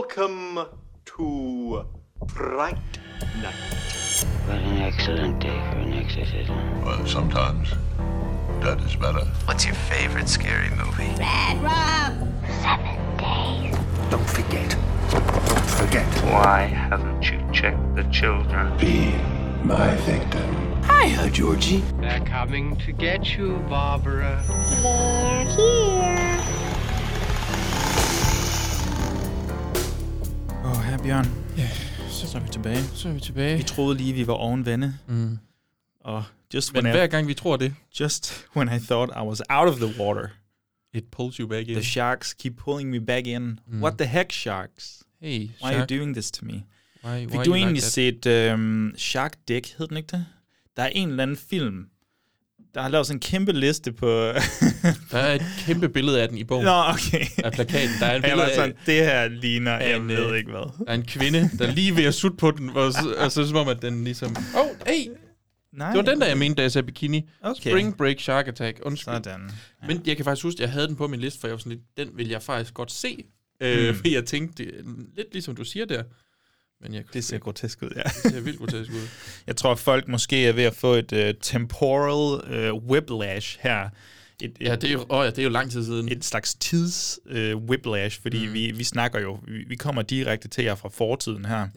Welcome to Fright Night. What an excellent day for an exorcism. Well, sometimes that is better. What's your favorite scary movie? Don't forget. Don't forget. Why haven't you checked the children? Be my victim. Hiya, Georgie. They're coming to get you, Barbara. They're here. Åh, oh, her Bjørn. Så Så er vi tilbage. så er vi tilbage. Vi troede lige, vi var oven vande. Mm. Og just Men when, hver I, gang vi tror det, just when I thought I was out of the water, it pulls you back in. the sharks keep pulling me back in. Mm. What the heck, sharks? hey, Why are you doing this to me? Why, why Fik you du like egentlig that? set øhm, Shark Dick, hed den ikke det? Der er en eller anden film, der har lavet sådan en kæmpe liste på... Der er et kæmpe billede af den i bogen. Nå, okay. Af plakaten. Der er et Jeg var billede af, sådan, det her ligner, jeg en, ved øh, ikke hvad. der er en kvinde, der er lige ved at sutte på den, og så, og så som om, at den ligesom... Åh, oh, hey! Nej. Det var den, der jeg mente, da jeg sagde bikini. Okay. Spring Break Shark Attack. Undskyld. Sådan. Men jeg kan faktisk huske, at jeg havde den på min liste, for jeg var sådan lidt, den vil jeg faktisk godt se. Øh, Hmm. fordi jeg tænkte, det er lidt ligesom du siger der. Men jeg kunne Det ser ikke- grotesk ud, ja. det ser vildt grotesk ud. Jeg tror, folk måske er ved at få et uh, temporal uh, whiplash her. Et, et, Ja, det er jo, åh, ja, det er jo lang tid siden. et slags tids uh, whiplash, fordi mm. vi, vi snakker jo, vi, vi kommer direkte til jer fra fortiden her.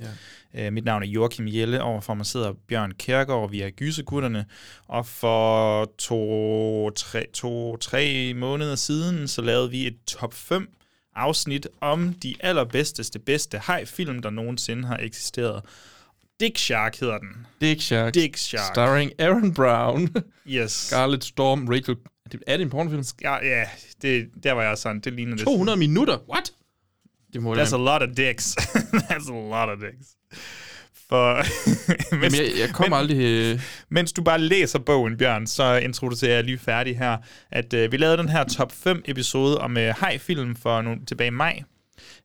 Ja. Uh, mit navn er Joachim Jelle, overfor mig sidder Bjørn Kjærgaard, vi er gysegutterne, og for to, tre, to, tre måneder siden, så lavede vi et top 5 afsnit om de allerbedsteste, bedste hajfilm, der nogensinde har eksisteret. Dick Shark hedder den. Dick Shark. Dick Shark. Starring Aaron Brown, Yes. Scarlett Storm, Rachel... Er det- Er det en pornofilm? Ja, ja det, der var jeg sådan. Det ligner 200 minutter? What? Det må det. det That's a lot of dicks. That's a lot of dicks. For mens, Jamen, jeg, jeg kommer aldrig... Øh, mens du bare læser bogen, Bjørn, så introducerer jeg lige færdig her, at øh, vi lavede den her top 5 episode om øh, hajfilm for nogle, tilbage i maj.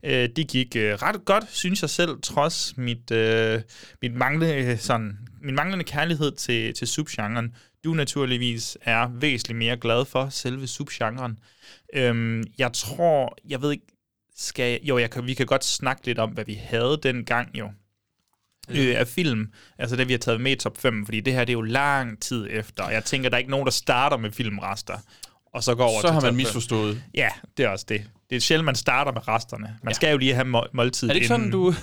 Øh, det gik øh, ret godt, synes jeg selv, trods mit, øh, mit manglende, øh, sådan, min manglende kærlighed til, til subgenren. Du naturligvis er væsentligt mere glad for selve subgenren. Øhm, jeg tror, jeg ved ikke, skal jeg, jo, jeg kan, vi kan godt snakke lidt om, hvad vi havde dengang jo. Øh, af film, altså det vi har taget med i top 5, fordi det her det er jo lang tid efter, og jeg tænker, der er ikke nogen, der starter med filmrester, og så går over så til har top man fem. misforstået. Ja, det er også det. Det er sjældent, man starter med resterne. Man ja. skal jo lige have må- måltid Er det ikke sådan, inden.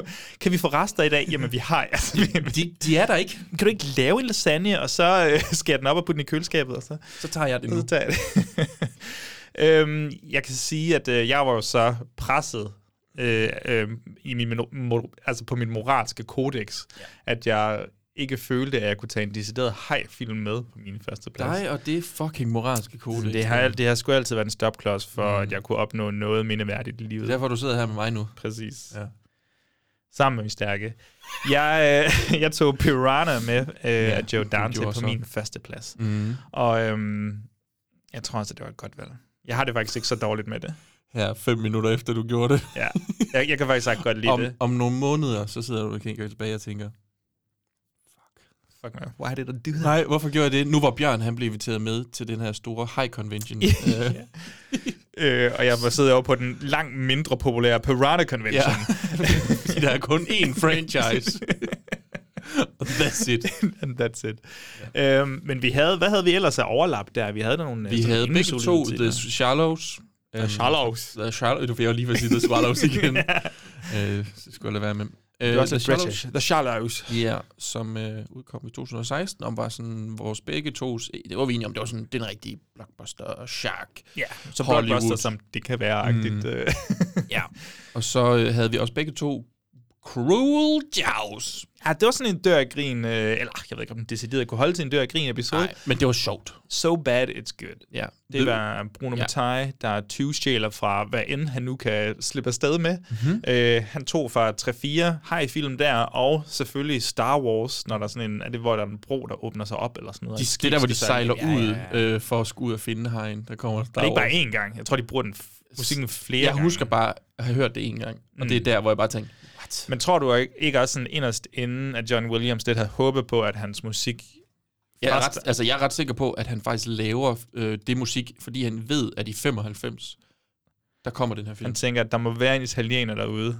du- kan vi få rester i dag? Jamen, vi har. Altså, vi- De, de er der ikke. kan du ikke lave en lasagne, og så øh, skære den op og putte den i køleskabet? Og så? Så tager jeg det nu. Så tager jeg det. øhm, jeg kan sige, at øh, jeg var jo så presset øh, øh, i min, mino- mo- altså på min moralske kodex, ja. at jeg ikke følte, at jeg kunne tage en decideret hej-film med på min første plads. Dig og det fucking moralske kode. Det har, det har sgu altid været en stopklods for, mm. at jeg kunne opnå noget mindeværdigt i livet. Derfor du sidder her med mig nu. Præcis. Ja. Sammen med min stærke. Jeg, øh, jeg tog Piranha med øh, ja, af Joe det Dante gjorde på så. min første plads. Mm. Og øhm, jeg tror også, at det var et godt valg. Jeg har det faktisk ikke så dårligt med det. Her fem minutter efter du gjorde det. Ja. Jeg, jeg kan faktisk sagt godt lide Om, det. om nogle måneder, så sidder du og kigger tilbage og tænker, Fuck man. Why did I do that? nej, hvorfor gjorde jeg det? Nu var Bjørn, han blev inviteret med til den her store high convention. Øh, Ja. øh, og jeg var siddet over på den langt mindre populære Piranha Convention. ja. Fordi der er kun én franchise. Og That's it. And that's it. Ja. Øhm, men vi havde, hvad havde vi ellers af overlap der? Vi havde der nogle... øh, Vi sådan havde begge to yndlingsoliditeter. The Shallows. The Shallows. The Shallows. Du får lige ved at sige The Swallows igen. øh, så skulle jeg lade være med. Øh, Det var også The lidt British. Shallows, The Shallows. Ja, som øh, udkom i 2016, om var sådan vores begge tos, øh, det var vi enige om, det var sådan den rigtige blockbuster shark. Ja, så Hollywood. Mm. blockbuster, som det kan være. agtigt. øh. Ja. Og så øh, havde vi også begge to Cruel Jaws. ja, det var sådan en dør af grin, øh, eller jeg ved ikke, om den decideret kunne holde til en dør af grin episode. Nej, Nej. men det var sjovt. So bad it's good. Ja. Det var Bruno Ja. ja. Mattei, der tyvstjæler fra, hvad end han nu kan slippe afsted med. Mhm. Mm-hmm. Øh, han tog fra 3-4 high-film der, og selvfølgelig Star Wars, når der er sådan en, er det hvor der er en bro, der åbner sig op, eller sådan noget. Altså, de, Et skib det der, hvor de skal sejle sejler ind. ud Øh, for at skulle ud og finde hegn. Der kommer Det er ikke bare én gang. Jeg tror, de bruger den f- musikken flere Jeg gange. Mm. husker bare at have hørt det en gang, og det er der, hvor jeg bare tænkte, what? Men tror du ikke- ikke også sådan inderst inden, at John Williams lidt havde håbet på, at hans musik... Jeg er, Først- ret, altså, jeg er ret sikker på, at han faktisk laver øh, det musik, fordi han ved, at i 95, der kommer den her film. Han tænker, at der må være en italiener derude,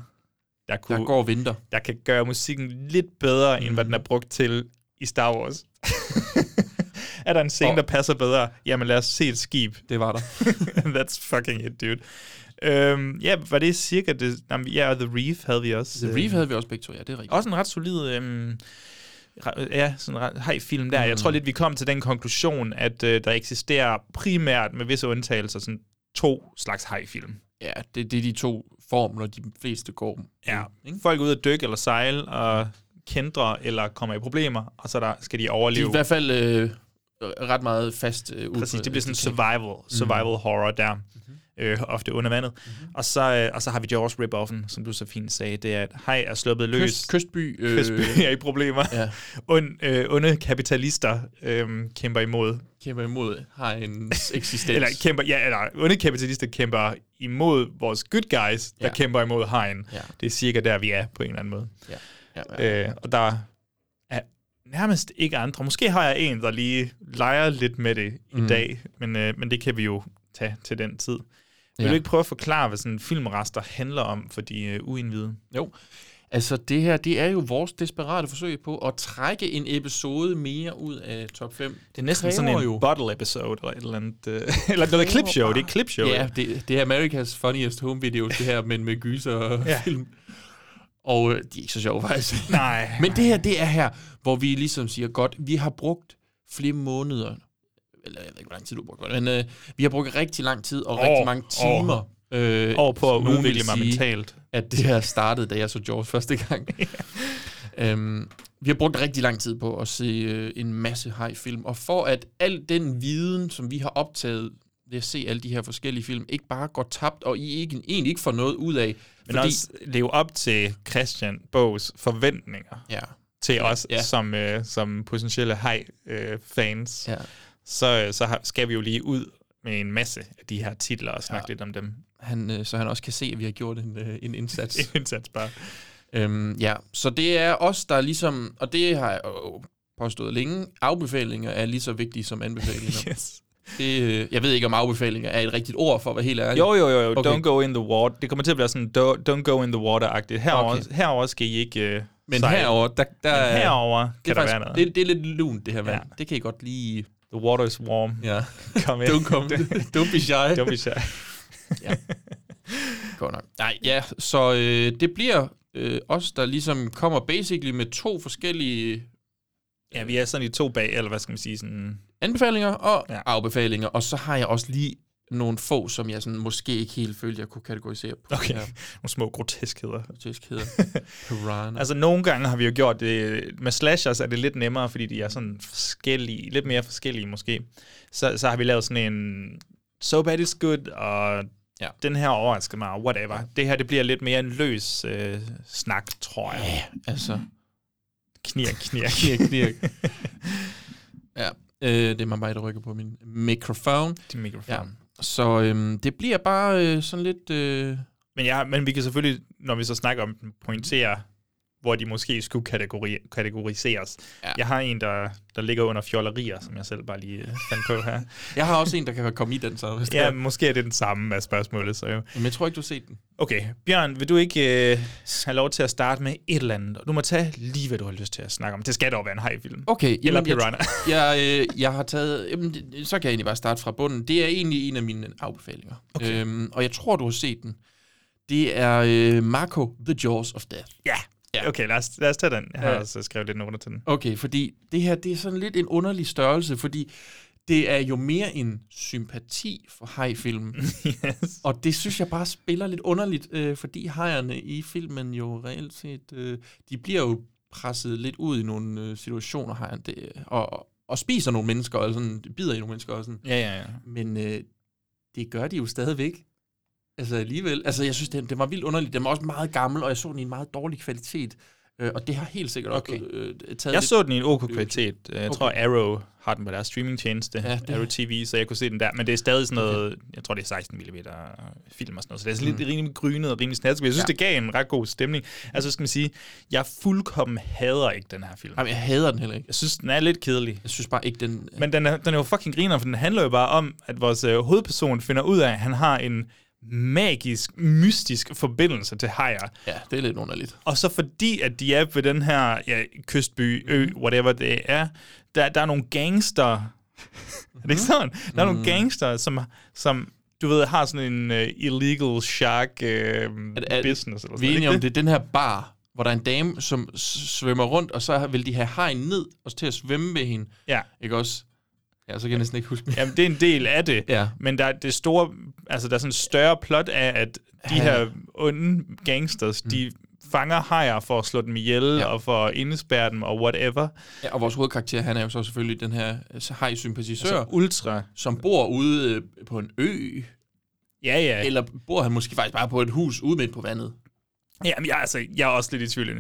der, kunne, Der går og venter. der kan gøre musikken lidt bedre, mm. end hvad den er brugt til i Star Wars. er der en scene, Og- der passer bedre? Jamen lad os se et skib. Det var der. That's fucking it, dude. Øhm, ja, var det cirka det? Jamen, ja, og The Reef havde vi også. øh, The Reef havde vi også begge to, ja, det er rigtigt. Også en ret solid... Øhm, re- ja, sådan en ret hej film der. Mm. Jeg tror lidt, vi kom til den konklusion, at øh, der eksisterer primært, med visse undtagelser, sådan to slags hejfilm. Ja, det, det er de to formler, de fleste går. Ja, med, Ikke? folk er ude at dykke eller sejle og kendre eller kommer i problemer, og så der, skal de De er overleve. i hvert fald øh, ret meget fast øh, ud. Præcis, det bliver sådan survival, Mhm. survival mm. horror der, mm-hmm. øh, ofte under vandet. Mhm. Mm-hmm. Og, så, øh, og så har vi Jaws rip-offen, som du så fint sagde, det er, at hej er sluppet løs. Kyst, kystby. Øh, Kystby er i problemer. Ja. Und, øh, onde kapitalister øh, kæmper imod. kæmper imod hajens eksistens. Eller, kæmper, ja, eller onde kapitalister kæmper imod vores good guys, der Ja. ja. kæmper imod hegn. Ja. Det er cirka der, vi er på en eller anden måde. Ja, ja, ja. Øh, og der er nærmest ikke andre. Måske har jeg en, der lige leger lidt med det i mm. dag, men, øh, men det kan vi jo tage til den tid. Vil Ja. du ikke prøve at forklare, hvad sådan en filmrester handler om for de øh, uindvidede? Jo. Altså, det her, det er jo vores desperate forsøg på at trække en episode mere ud af top 5. Det er næsten sådan en jo. bottle episode, eller et eller andet. Øh, eller noget clipshow, det er et clipshow. Ja, det, det er America's Funniest Home Video, det her, men med gyser og Ja. film. Og øh, de er ikke så sjove, faktisk. Nej. Men det her, det er her, hvor vi ligesom siger, godt, vi har brugt flere måneder, eller jeg ved ikke, hvor lang tid du har brugt, men øh, vi har brugt rigtig lang tid og År, rigtig mange år. timer. Øh, Over på at nogen vil udvikle mig sige, mentalt. At det her startede, da jeg så Jaws første gang. øhm, vi har brugt rigtig lang tid på at se øh, en masse high-film, og for at al den viden, som vi har optaget ved at se alle de her forskellige film, ikke bare går tabt, og I ikke, egentlig ikke får noget ud af. Men fordi... også leve op til Christian Bogs forventninger Ja, til os ja. ja. som, øh, som potentielle øh, hej-fans. ja. så, så har- skal vi jo lige ud med en masse af de her titler og snakke ja. lidt om dem. han, øh, så han også kan se, at vi har gjort en, øh, en indsats. Indsats bare. øhm, ja, så det er os, der ligesom, og det har jeg øh, påstået længe, afbefalinger er lige så vigtige som anbefalinger. Yes. det, øh, jeg ved ikke, om afbefalinger er et rigtigt ord for at være helt ærlig. Jo, jo, jo, jo. Okay. Okay. Don't go in the water. Det kommer til at blive sådan, do, don't go in the water-agtigt. Herover, Okay. okay. herover skal I ikke uh, men herover, der, der Men herover det kan er, der være faktisk, noget. det, det er lidt lunt, det her vand. Ja. Ja. Det kan I godt lige... The water is warm. Ja. Kom ind. Don't come. Don't be shy. Don't be shy. Godt nok. Nej, ja, så øh, det bliver øh, os, der ligesom kommer basically med to forskellige Ja, vi er sådan i to bag, eller hvad skal man sige, sådan... anbefalinger og ja. Ja. afbefalinger, og så har jeg også lige nogle få, som jeg sådan måske ikke helt følte, jeg kunne kategorisere på. Okay. Ja, Nogle små groteskheder. grotesk hedder. Piranha. Altså, Altså, nogle gange har vi jo gjort det... Med slashers er det lidt nemmere, fordi de er sådan forskellige, lidt mere forskellige måske. Så, så har vi lavet sådan en... So bad is good, og Ja. ja. den her overrasker mig, og whatever. Det her, det bliver lidt mere en løs øh, snak, tror jeg. altså Knirk, knirk. knirk, knirk. ja, øh, det er mig bare, der rykker på min mikrofon. Din Ja. mikrofon. Så øhm, det bliver bare øh, sådan lidt... Øh, Men, ja, men vi kan selvfølgelig, når vi så snakker om den, pointere, hvor de måske skulle kategori- kategoriseres. Ja. Ja. Jeg har en, der, der ligger under fjollerier, som jeg selv bare lige øh, fandt på her. jeg har også en, der kan komme i den, så hvis Ja, ja. måske er det den samme af spørgsmålet. Så jo. Men jeg tror ikke, du har set den. Okay, Bjørn, vil du ikke øh, have lov til at starte med et eller andet? Du må tage lige, hvad du har lyst til at snakke om. Det skal dog være en hajfilm. Okay, Eller jamen, jeg- Piranha. jeg, øh, jeg har taget... Jamen, det- så kan jeg egentlig bare starte fra bunden. Det er egentlig en af mine afbefalinger. Okay. Øhm, og jeg tror, du har set den. Det er øh, Marco, The Jaws of Death. Ja. Ja. ja. Okay, lad os, lad os tage den. Jeg har Ja. ja. også skrevet lidt noter til den. Okay, fordi det her, det er sådan lidt en underlig størrelse, fordi det er jo mere en sympati for hajfilmen. yes. og det synes jeg bare spiller lidt underligt, øh, fordi hajerne i filmen jo reelt set, øh, de bliver jo presset lidt ud i nogle øh, situationer, hajerne, det, og, og spiser nogle mennesker, og sådan, bider i nogle mennesker, og sådan. Ja, ja, ja. Men øh, det gør de jo stadigvæk. Altså alligevel. Altså jeg synes, den, den var vildt underlig. Den var også meget gammel, og jeg så den i en meget dårlig kvalitet. Øh, og det har helt sikkert okay. Okay. også øh, taget Jeg lidt- så den i en ok kvalitet. Jeg Okay. tror, Arrow har den på deres streamingtjeneste, Ja, ja, det- Arrow TV, så jeg kunne se den der. Men det er stadig sådan noget, jeg tror, det er 16 mm film og sådan noget. Så det er sådan mm. lidt rimelig grynet og rimelig snatsk. men Jeg synes, ja. det gav en ret god stemning. Altså, skal man sige, jeg fuldkommen hader ikke den her film. Jamen, jeg hader den heller ikke. Jeg synes, den er lidt kedelig. Jeg synes bare ikke, den... Men den er, den er jo fucking griner, for den handler jo bare om, at vores øh, hovedperson finder ud af, at han har en magisk, mystisk forbindelse til hajer. Ja, det er lidt underligt. Og så fordi, at de er ved den her ja, kystby, ø, Mhm. whatever det er, der, der er nogle gangster. er Mhm. det ikke sådan? Der er nogle gangster, som, som du ved, har sådan en uh, illegal shark uh, er- business. Eller sådan, Vi er enige ikke om, det? det er den her bar, hvor der er en dame, som s- svømmer rundt, og så vil de have hegn ned og til at svømme med hende. Ja. Ikke også? Ja, så kan jeg næsten ikke huske mere. Jamen, det er en del af det. Ja. Men der er det store, altså der er sådan en større plot af, at de Ja. her onde gangsters, mm. de fanger hajer for at slå dem ihjel, ja. og for at indespærre dem, og whatever. Ja, og vores hovedkarakter, han er jo så selvfølgelig den her øh, hej-sympatisør, Så altså, ultra. som bor ude øh, på en ø, Ja, ja. eller bor han måske faktisk bare på et hus ude midt på vandet. Jamen, jeg, er altså, jeg er også lidt i tvivl.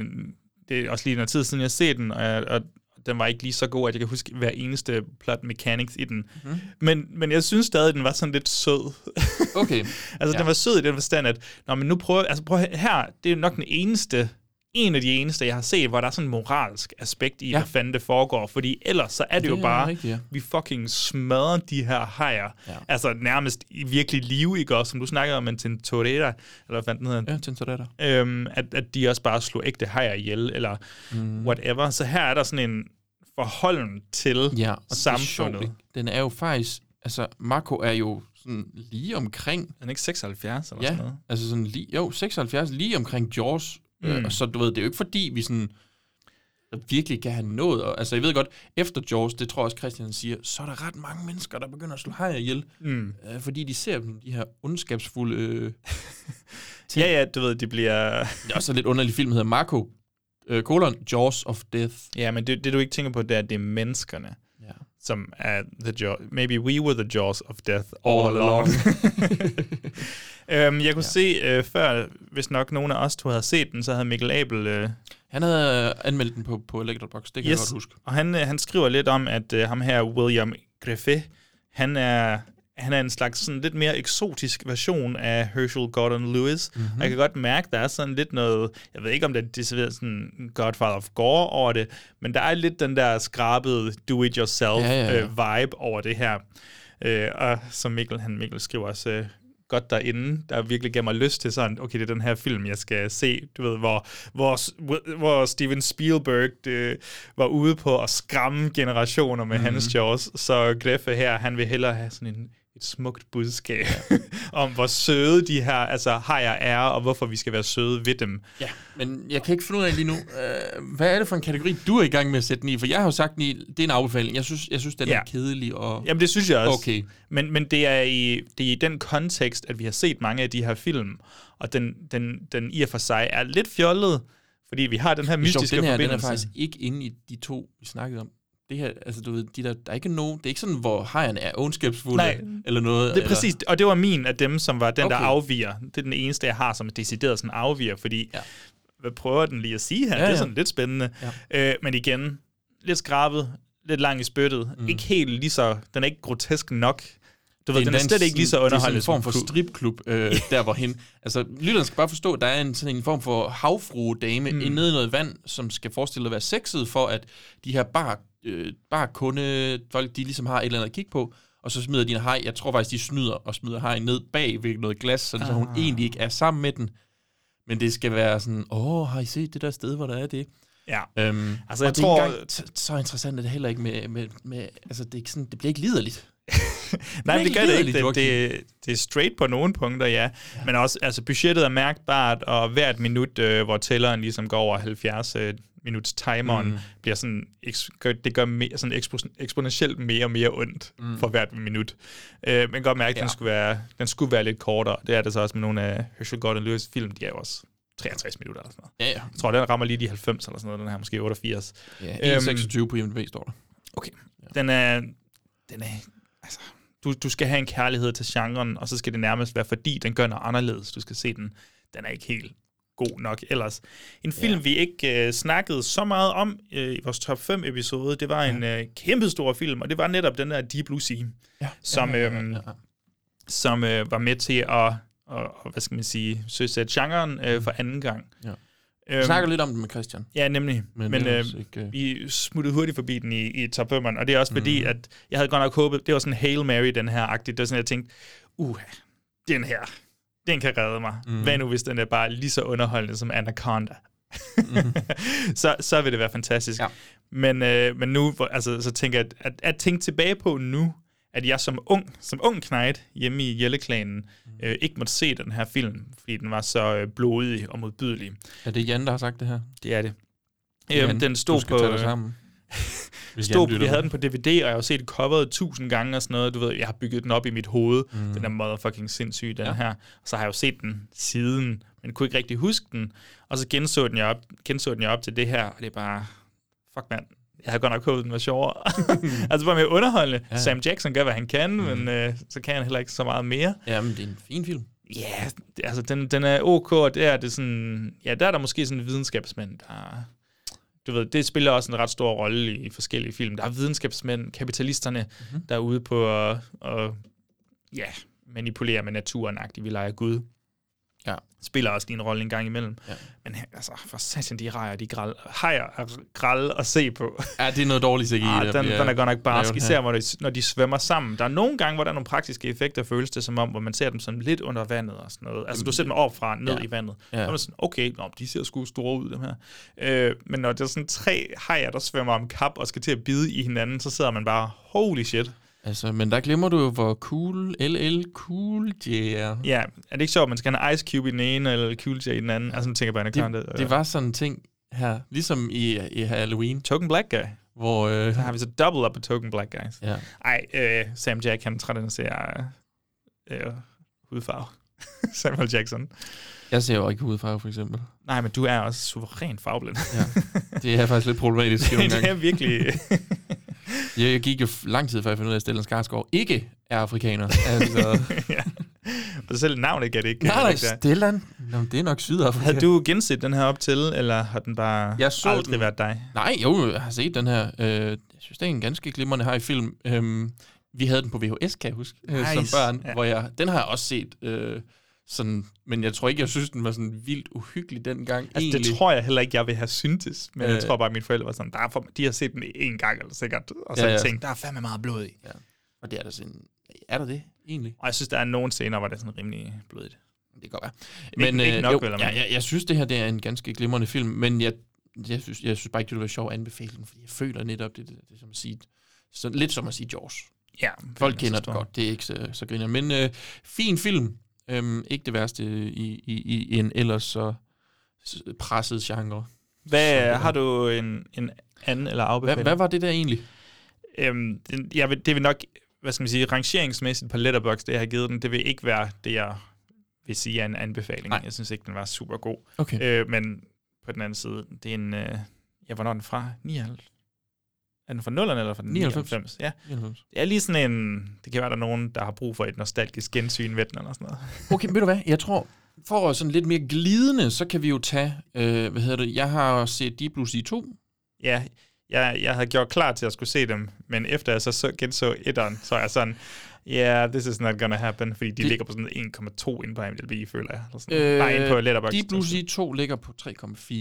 Det er også lige noget tid siden, jeg har set den, og, jeg, og den var ikke lige så god, at jeg kan huske hver eneste plot mechanics i den. Mm-hmm. Mm. Men, men jeg synes stadig, at den var sådan lidt sød. Okay. altså, ja. den var sød i den forstand, at Nå, men nu prøver, altså, prøv, at høre, her, det er nok den eneste, en af de eneste, jeg har set, hvor der er sådan en moralsk aspekt i, ja. Ja. hvad fanden det foregår. Fordi ellers så er det, Det jo er bare, rigtigt, ja. vi fucking smadrer de her hajer. Ja. Ja. Altså nærmest i virkelig live, ikke også? Som du snakkede om, en Tintorera, eller hvad fanden den hedder, ja, Tintoretter. øhm, at, at de også bare slog ægte hajer ihjel, eller mm. whatever. Så her er der sådan en forholden til Ja, og det er samfundet. sjovt, ikke? den er jo faktisk, altså Marco er jo sådan lige omkring, Han er ikke 76 eller ja, sådan noget. altså sådan lige, jo, 76, lige omkring Jaws, mm. øh, og så du ved, det er jo ikke fordi, vi sådan virkelig kan have nået, og, altså jeg ved godt, efter Jaws, det tror jeg også Christian siger, så er der ret mange mennesker, der begynder at slå hajer ihjel, mm. øh, fordi de ser dem, de her ondskabsfulde, øh, Ja, ja, du ved, det bliver... det er også en lidt underlig film, der hedder Marco, øh, kolon, Jaws of Death. Ja, men det, det du ikke tænker på, det er, at det er menneskerne, Ja. som er the jaws. Maybe we were the jaws of death all, all along. øhm, jeg kunne ja. se øh, før, hvis nok nogen af os to havde set den, så havde Mikkel Abel... Øh, Han havde øh, anmeldt den på, på Electrobox, det kan yes. jeg godt huske. Og han, øh, han skriver lidt om, at øh, ham her, William Griffith, han er, han er en slags sådan lidt mere eksotisk version af Herschel Gordon Lewis. Mhm. Mm-hmm. Jeg kan godt mærke, der er sådan lidt noget, jeg ved ikke om det er decideret sådan Godfather of Gore over det, men der er lidt den der skrabede do-it-yourself Ja, ja, ja. Øh, vibe over det her. Øh, og som Mikkel, han Mikkel skriver også, øh, godt derinde, der virkelig gav mig lyst til sådan, okay, det er den her film, jeg skal se, du ved, hvor, hvor, hvor Steven Spielberg det, var ude på at skræmme generationer med mm. hans Jaws, så Greffe her, han vil hellere have sådan en, et smukt budskab om, hvor søde de her altså, hajer er, og hvorfor vi skal være søde ved dem. Ja, men jeg kan ikke finde ud af lige nu, øh, hvad er det for en kategori, du er i gang med at sætte den i? For jeg har jo sagt, den i, det er en afbefaling. Jeg synes, jeg synes den ja. Ja. er kedelig. Og... Jamen, det synes jeg også. Okay. Men, men det, er i, det er i den kontekst, at vi har set mange af de her film, og den, den, den i og for sig er lidt fjollet, fordi vi har den her Det er sjovt, mystiske den her, den er forbindelse. faktisk ikke inde i de to, vi snakkede om. Det her, altså du ved, de der, der er ikke nogen, det er ikke sådan, hvor hejerne er ondskabsfulde Nej. eller noget. Det er eller, præcis, og det var min af dem, som var den, okay. der Okay. afviger. Det er den eneste, jeg har, som er decideret sådan afviger, fordi ja. Ja. hvad prøver den lige at sige her? Ja, Ja, det er ja. sådan lidt spændende. Ja. Øh, men igen, lidt skrabet, lidt lang i spyttet. Mm. Ikke helt lige så, den er ikke grotesk nok. Du ved, Det den er endda en slet ikke lige så sådan- underholdende. Det er sådan en form for som- stripklub, øh, der hvor hen. Altså, lytteren skal bare forstå, at der er en, sådan en form for havfruedame mm. nede i noget vand, som skal forestille at være sexet for, at de her bar, øh, barkunde folk, de ligesom har et eller andet at kigge på, og så smider de en hej. Jeg tror faktisk, de snyder og smider hej ned bag ved noget glas, sådan, så hun Ah. egentlig ikke er sammen med den. Men det skal være sådan, åh, har I set det der sted, hvor der er det? Ja. Øhm, Altså, og jeg det er ikke tror- engang t- så interessant er det heller ikke med, med, med altså det, er ikke sådan, det bliver ikke liderligt. Nej, men det Virkelig gør det ikke. liderligt, Det, Joachim. det, det er straight på nogle punkter, ja. Men også, altså budgettet er mærkbart, og hvert minut, øh, hvor tælleren ligesom går over 70 øh, minuts timeren, mm. bliver sådan, eks, gør, det gør mere, sådan ekspos, eksponentielt mere og mere ondt mm. for hvert minut. Øh, man kan godt mærke, at den, Ja. skulle være, den skulle være lidt kortere. Det er det så også med nogle af Herschel Gordon Lewis film, de er jo også 63 minutter eller sådan noget. Ja, ja. Jeg tror, den rammer lige de 90 eller sådan noget, den her måske 88. Øhm, Ja, 1,26 på IMDb står der. Okay. Den er... Den er altså, du, du skal have en kærlighed til genren, og så skal det nærmest være, fordi den gør noget anderledes. Du skal se den. Den er ikke helt god nok ellers. En film, ja. vi ikke øh, snakkede så meget om øh, i vores top 5 episode, det var ja. en øh, kæmpestor film, og det var netop den der Deep Blue Sea, ja. som, øh, som øh, var med til at, at, at, hvad skal man sige, søsætte genren øh, for anden gang. Ja. Øhm, Vi snakker lidt om den med Christian. Ja, nemlig. Men, Men men øh, ellers ikke, øh. vi smuttede hurtigt forbi den i, i top 5'eren, og det er også fordi, Mhm. mm. at jeg havde godt nok håbet, det var sådan Hail Mary, den her agtigt. Det var sådan, jeg tænkte, uha, den her, den kan redde mig. Mm. Mhm. Hvad nu, hvis den er bare lige så underholdende som Anaconda? mm. så, så vil det være fantastisk. Mhm. Ja. Men, øh, men nu, hvor- altså, så tænker jeg, at, at, at tænke tilbage på nu, at jeg som ung, som ung knægt hjemme i Jelleklanen, Mhm. øh, ikke måtte se den her film, fordi den var så øh, blodig og modbydelig. Er det Jan, der har sagt det her? Det er det. Jan, Øhm, den du stod skal på... tage dig øh, sammen. Hvis Jan stod, lytter jeg havde med. den på DVD, og jeg har jo set coveret tusind gange og sådan noget. Du ved, jeg har bygget den op i mit hoved. Mm. Den er motherfucking sindssyg, den ja. her. Og så har jeg jo set den siden, men kunne ikke rigtig huske den. Og så genså den jeg op, genså den jeg op til det her, og det er bare... Fuck, mand. Jeg havde godt nok håbet, den var sjovere. altså bare mere underholdende. Ja. Sam Jackson gør, hvad han kan, mm. men øh, så kan han heller ikke så meget mere. Jamen, det er en fin film. Ja, yeah, altså den, den er ok, og der er det sådan, ja, der er der måske sådan en videnskabsmand, der du ved, det spiller også en ret stor rolle i forskellige film. Der er videnskabsmænd, kapitalisterne, mm-hmm. der er ude på at, at ja, manipulere med naturen, agtigt, vi leger Gud. Ja. Spiller også lige en rolle en gang imellem. Ja. Men altså, for satan, de rejer, de græl, hejer og græl at se på. Ja, det er noget dårligt, ikke? Ah, den, den er godt nok barsk, især når de, når de svømmer sammen. Der er nogle gange, hvor der er nogle praktiske effekter, føles det som om, hvor man ser dem sådan lidt under vandet og sådan noget. Altså, du ser dem op fra ned Ja. ja. i vandet. Ja. Ja. Så er man sådan, okay, nå, de ser sgu store ud, dem her. Øh, men når der er sådan tre hajer, der svømmer om kap og skal til at bide i hinanden, så sidder man bare, holy shit. Altså, men der glemmer du jo, hvor cool LL Cool J er. Ja, er det ikke sjovt, at man skal have en Ice Cube i den ene, eller Cool J i den anden? Altså, man tænker bare, at Det, det var sådan en ting her, ligesom i, i Halloween, Token Black Guy. hvor... Øh, Der har vi så double up på Token Black Guys. ja. Ej, øh, Sam Jack, han transcenderer øh, hudfarve. Samuel Jackson. Jeg ser jo ikke hudfarve, for eksempel. Nej, men du er også suveræn farveblind. Det er faktisk lidt problematisk. jo en gang. det er virkelig... Jeg, jeg gik jo f- lang tid, før jeg fandt ud af, at Stellan Skarsgård ikke er afrikaner. Altså, ja. Og selv navnet kan det ikke. nej, det nej, ikke der. Stellan. Nå, men det er nok Sydafrika. Havde du genset den her op til, eller har den bare Jeg så aldrig den. været dig? Altså, Nej, jo, jeg har set den her. Øh, jeg synes, det er en ganske glimrende her i film. Øhm, vi havde den på VHS, kan jeg huske, nice. som Nice. børn. Ja. Ja. Hvor jeg, den har jeg også set, øh, sådan, men jeg tror ikke, jeg synes, den var sådan vildt uhyggelig dengang. Altså, egentlig. det tror jeg heller ikke, jeg vil have syntes. Men øh. Øh. jeg tror bare, at mine forældre var sådan, der er for, de har set den en gang, eller sikkert. Og så Ja, ja, ja. ja. tænkt, der er fandme meget blod i. Og det er der sådan... Er der det, egentlig? Og jeg synes, der er nogle scener, hvor det er sådan rimelig blodigt. Det kan godt være. øh, Ikke- ikke nok, jo, vel, men- jeg, jeg, jeg synes, det her det er en ganske glimrende film, men jeg, jeg, synes, jeg synes bare ikke, det ville være sjovt at anbefale den, fordi jeg føler netop, det, det, det er som at sige... Så lidt som at sige Jaws. Ja, Folk så kender det stor. godt, det er ikke så, så griner. Men øh, fin film. Øhm, ikke det værste i, i, i en ellers så s- presset genre. Hvad, har du en, en anden eller Hva, afbefaling? hvad var det der egentlig? Øhm, den, jeg vil, det vil nok, hvad skal man sige, rangeringsmæssigt på Letterboxd, det jeg har givet den, det vil ikke være det, jeg vil sige er en anbefaling. Nej. Nej. Jeg synes ikke, den var super god. Okay. Øh, Øh, men på den anden side, det er en, øh, ja, hvornår er den fra? 99? Er den fra 0'erne eller fra 99? 99? Ja, det er lige sådan en, det kan være, der er nogen, der har brug for et nostalgisk gensyn ved den eller sådan noget. okay, ved du hvad? Jeg tror, for at sådan lidt mere glidende, så kan vi jo tage, øh, hvad hedder det, jeg har set Deep Blue Sea 2. Ja, jeg, jeg havde gjort klar til at skulle se dem, men efter jeg så, så genså etteren, så er jeg sådan, yeah, this is not gonna happen, fordi de Det- det, ligger på sådan 1,2 inde på IMDb, føler jeg. Eller sådan. Øh, Øh, Nej, inde på Letterboxd. Deep Blue Sea 2 ligger på 3,4.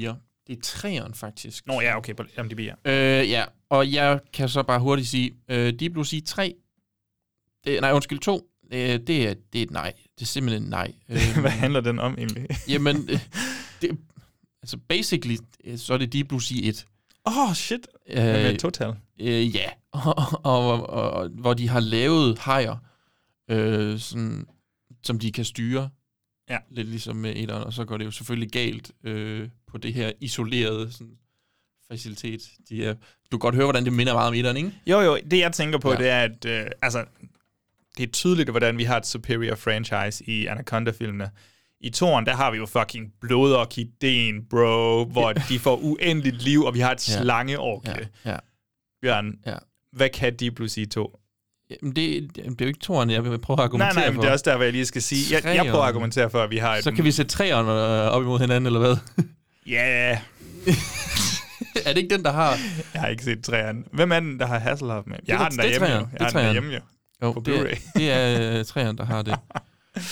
Det er træeren faktisk. Nå ja, okay, på IMDb, ja. Øh, ja, og jeg kan så bare hurtigt sige, øh, Deep Blue Sea 3, det, nej undskyld 2, øh, det, er, det er et nej. Det er simpelthen et nej. Øh, Hvad handler den om egentlig? jamen, øh, det, altså basically, øh, så er det Deep Blue Sea 1. Åh, oh, shit. Øh, Øh, med total. øh, ja, og, og, og, og, hvor de har lavet hajer, øh, sådan, som de kan styre. Ja. Lidt ligesom med etteren, og så går det jo selvfølgelig galt øh, på det her isolerede sådan, facilitet. De er, du kan godt høre, hvordan det minder meget om etteren, ikke? Jo, jo, det jeg tænker på, Ja. ja. det er, at øh, altså, det er tydeligt, hvordan vi har et superior franchise i Anaconda-filmene. I toren, der har vi jo fucking blodorkideen, bro, hvor de får uendeligt liv, og vi har et Ja. ja. slangeorke. Ja. ja. Bjørn, Ja. ja. hvad kan Deep Blue Sea 2? Jamen, det, det er jo ikke toren, jeg vil prøve at Nej, argumentere nej, men for. det er også der, hvor jeg lige skal sige. Jeg, jeg prøver Treeren. at argumentere for, at vi har et... Så kan vi sætte træerne øh, op imod hinanden, eller hvad? Ja, yeah. er det ikke den, der har... jeg har ikke set træerne. Hvem er den, der har Hasselhoff med? Jeg er- har den det er derhjemme, jo. treeren. Jeg Det er har den treeren. derhjemme, jo. Jo, På det, er, Blu-ray. det er øh, træerne, der har det.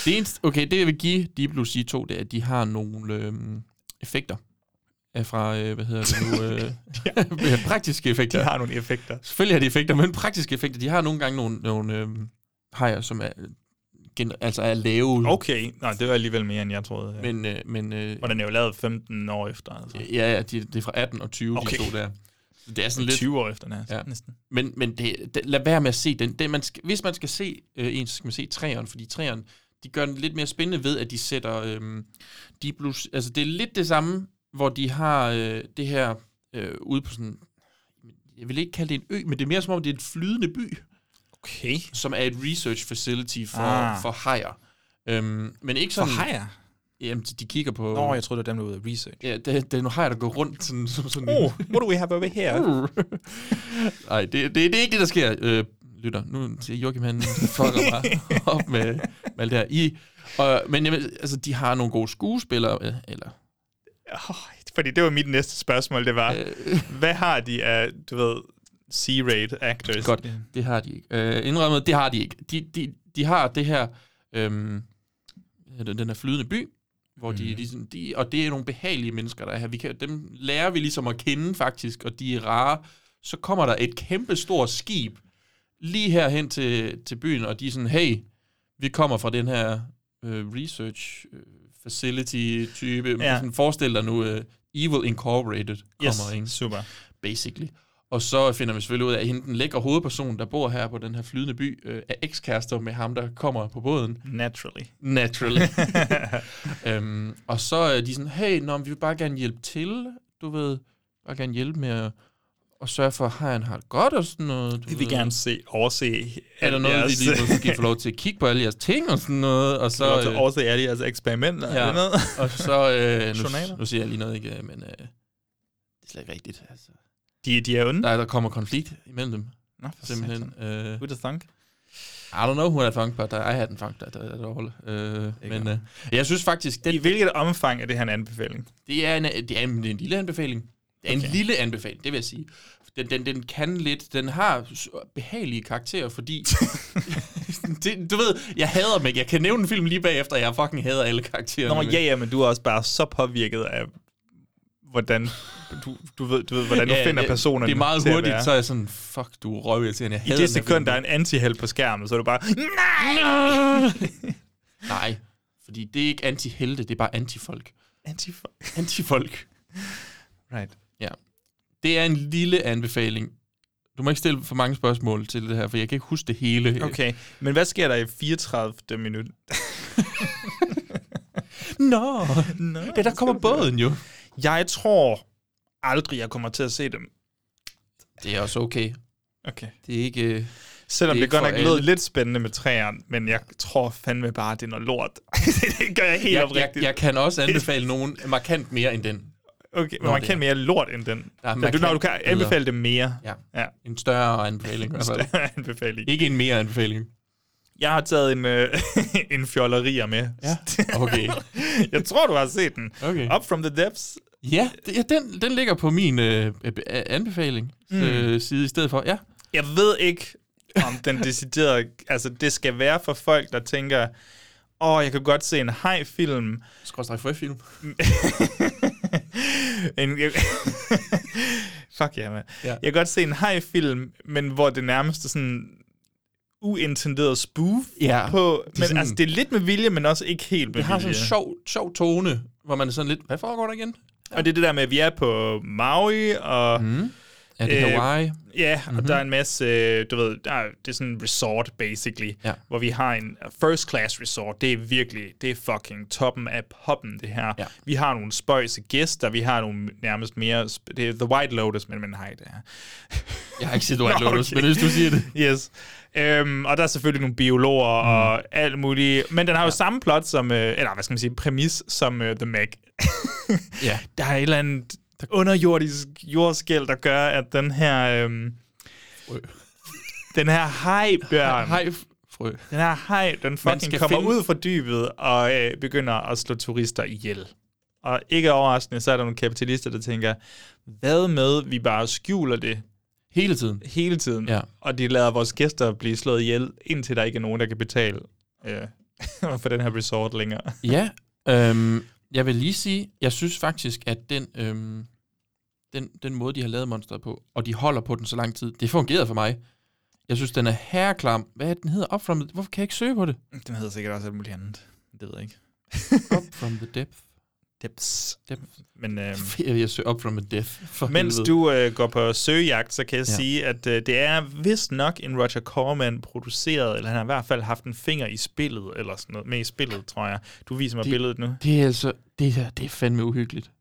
det eneste, okay, det jeg vil give Deep Blue Sea 2, det er, at de har nogle øh, effekter af fra, øh, hvad hedder det nu, øh, praktiske effekter. De har nogle effekter. Selvfølgelig har de effekter, men praktiske effekter. De har nogle gange nogle, nogle øh, hajer, øhm, som er, gen- altså er lavet. Okay, Nå, det var alligevel mere, end jeg troede. Men, Men, øh, men øh, og den er jo lavet 15 år efter, altså. ja, ja, de, det er fra 18 og 20, Okay. de to der. Så det er sådan Lidt. lidt... 20 år efter næsten. Ja. Ja. næsten. Men, men det, det, lad være med at se den. Det, man skal, hvis man skal se øh, en, så skal man se træeren, fordi træeren, de gør den lidt mere spændende ved, at de sætter øh, de blues, altså det er lidt det samme, hvor de har øh, det her øh, ude på sådan, jeg vil ikke kalde det en ø, men det er mere som om, det er en flydende by, Okay. som er et research facility for, Ah. ah. for hajer. Øhm, men ikke For sådan... hajer? Jamen, de de kigger på... Nå, jeg troede, det var dem, der var ude af research. Ja, det, det er nogle hajer, der går rundt sådan, som sådan Oh, what do we have over here? Uh. Nej, det, det, det er ikke det, der sker, øh, lytter. Nu siger Joachim, han fucker bare op med, med alt det her. I, og, men jamen, altså, de har nogle gode skuespillere, øh, eller... Oh, fordi det var mit næste spørgsmål, det var, øh, hvad har de af, du ved, C-rate actors? Godt, det har de ikke. Øh, indrømmet, det har de ikke. De, de, de har det her... Øhm, den den her flydende by, hvor de, ligesom, de, og det er nogle behagelige mennesker, der er her. Vi kan, dem lærer vi ligesom at kende faktisk, og de er rare. Så kommer der et kæmpe stort skib lige herhen til, til byen, og de er sådan, hey, vi kommer fra den her øh, research øh, facility-type. Ja. Ja. Sådan, forestil dig nu, øh, Evil Incorporated kommer, yes. ikke? Yes, super. basically. Og så finder vi selvfølgelig ud af, at hende den lækre hovedperson, der bor her på den her flydende by, øh, er ekskærester med ham, der kommer på båden. Naturally. Naturally. øhm, og så er de sådan, hey, nå, men vi vil bare gerne hjælpe til, du ved, bare gerne hjælpe med at, at sørge for, at han har det godt og sådan noget. Du Vi vil ved. gerne se, overse... Mm. Er der noget, jeres- vi lige måske får lov til at kigge på alle jeres ting og sådan noget? Og så, Få lov øh, til at overse alle jeres eksperimenter? Ja. Ja. Noget? og så øh, Journaler? nu, nu siger jeg lige noget, ikke? øh, Men øh, det er slet ikke rigtigt. Altså. De, de er onde. Der, er- der kommer konflikt imellem dem, Nå, for simpelthen. satan. Øh, Who the thunk? I don't know who had funk, but I hadn't funk that at all. Øh, men øh, jeg synes faktisk, I den, hvilket omfang er det her en anbefaling? det, er en, det, er en, det er en lille anbefaling. Det er okay. Okay. en lille anbefaling, det vil jeg sige. Den, den, den kan lidt, den har s- behagelige karakterer, fordi... det, du ved, jeg hader dem ikke. Jeg kan nævne en film lige bagefter, og jeg fucking hader alle karaktererne. Nå, men- ja, ja, men du er også bare så påvirket af, hvordan du, du, ved, du ved, hvordan du Ja, finder det- personerne Det er meget til at hurtigt, være. så er jeg sådan, fuck, du er røvirriterende. Jeg I hader det den her sekund, film. der er en antiheld på skærmen, så er du bare... Nej, fordi det er ikke anti-helte, det er bare anti-folk. Antifolk. Anti-folk. Right. Det er en lille anbefaling. Du må ikke stille for mange spørgsmål til det her, for jeg kan ikke huske det hele. Okay, men hvad sker der i 34. minut? Nå, Nå, det der kommer båden jo. Jeg tror aldrig, jeg kommer til at se dem. Det er også okay. Okay. Det er ikke... øh, Selvom Det det, er det godt ikke nok for lød alle. lidt spændende med træerne, men jeg tror fandme bare, det er noget lort. det gør jeg helt Jeg, jeg, oprigtigt. jeg kan også anbefale nogen markant mere end den. okay, men Nå, man det kan er- mere lort end den. Der er men du, når du markant kan anbefale det mere. Ja. ja. En større anbefaling. i hvert fald. Større anbefaling. Ikke en mere anbefaling. Jeg har taget en, øh, en fjollerier med. Ja, okay. jeg tror, du har set den. Okay. Up from the depths. Ja, det, ja den, den ligger på min øh, øh, anbefaling Mm. øh, side i stedet for. Ja, Jeg ved ikke, om den decideret... altså, det skal være for folk, der tænker, åh, oh, jeg kan godt se en hej-film, skråstrej for film. en, jeg, fuck ja, yeah, mand. Ja. Jeg kan godt se en hej-film, men hvor det nærmest er sådan uintenderet spoof Ja, på... er Men sådan- altså, det er lidt med vilje, men også ikke helt med Det har sådan vilje. en sjov, sjov tone, hvor man er sådan lidt, hvad foregår der igen? Og det er det der med, at vi er på Maui, og Mhm. mm. Er det Øh, Hawaii? ja, og Mhm. mm-hmm. der er en masse, øh, du ved, der er, det er sådan en resort, basically, Ja. hvor vi har en first class resort. Det er virkelig, det er fucking toppen af poppen, det her. Ja. Vi har nogle spøjse gæster, vi har nogle nærmest mere, sp- det er The White Lotus, men, men hej, det er. Jeg har ikke set White Nå, Lotus, okay. men hvis du siger det. Yes. Øhm, og der er selvfølgelig nogle Mhm. biologer mm. og alt muligt. Men den har jo samme plot som, øh, eller hvad skal man sige, præmis som øh, The Meg. Ja. Der er et eller andet underjordisk jordskæld, der gør, at den her... Øhm, den her hajbjørn, Hej, frø. den her haj, den fucking skal kommer finde- ud fra dybet og øh, begynder at slå turister ihjel. Og ikke overraskende, så er der nogle kapitalister, der tænker, hvad med, vi bare skjuler det Hele tiden. hele tiden, Ja. og de lader vores gæster blive slået ihjel, indtil der ikke er nogen, der kan betale øh, for den her resort længere. Ja, øhm, jeg vil lige sige, jeg synes faktisk, at den, øhm, den, den måde, de har lavet monster på, og de holder på den så lang tid, det fungerede for mig. Jeg synes, den er herreklam. Hvad er den hedder? Up from the... Hvorfor kan jeg ikke søge på det? Den hedder sikkert også alt muligt andet. Det ved jeg ikke. Up from the depth. Depths. Depth. Men, øh, Jeg søger up from the depth. For mens helvede. du øh, går på søgejagt, så kan jeg Ja. ja. sige, at øh, det er vist nok en Roger Corman produceret, eller han har i hvert fald haft en finger i spillet, eller sådan noget, med i spillet, tror jeg. Du viser mig Det- det... billedet nu. Det er altså... Det her, det er fandme uhyggeligt.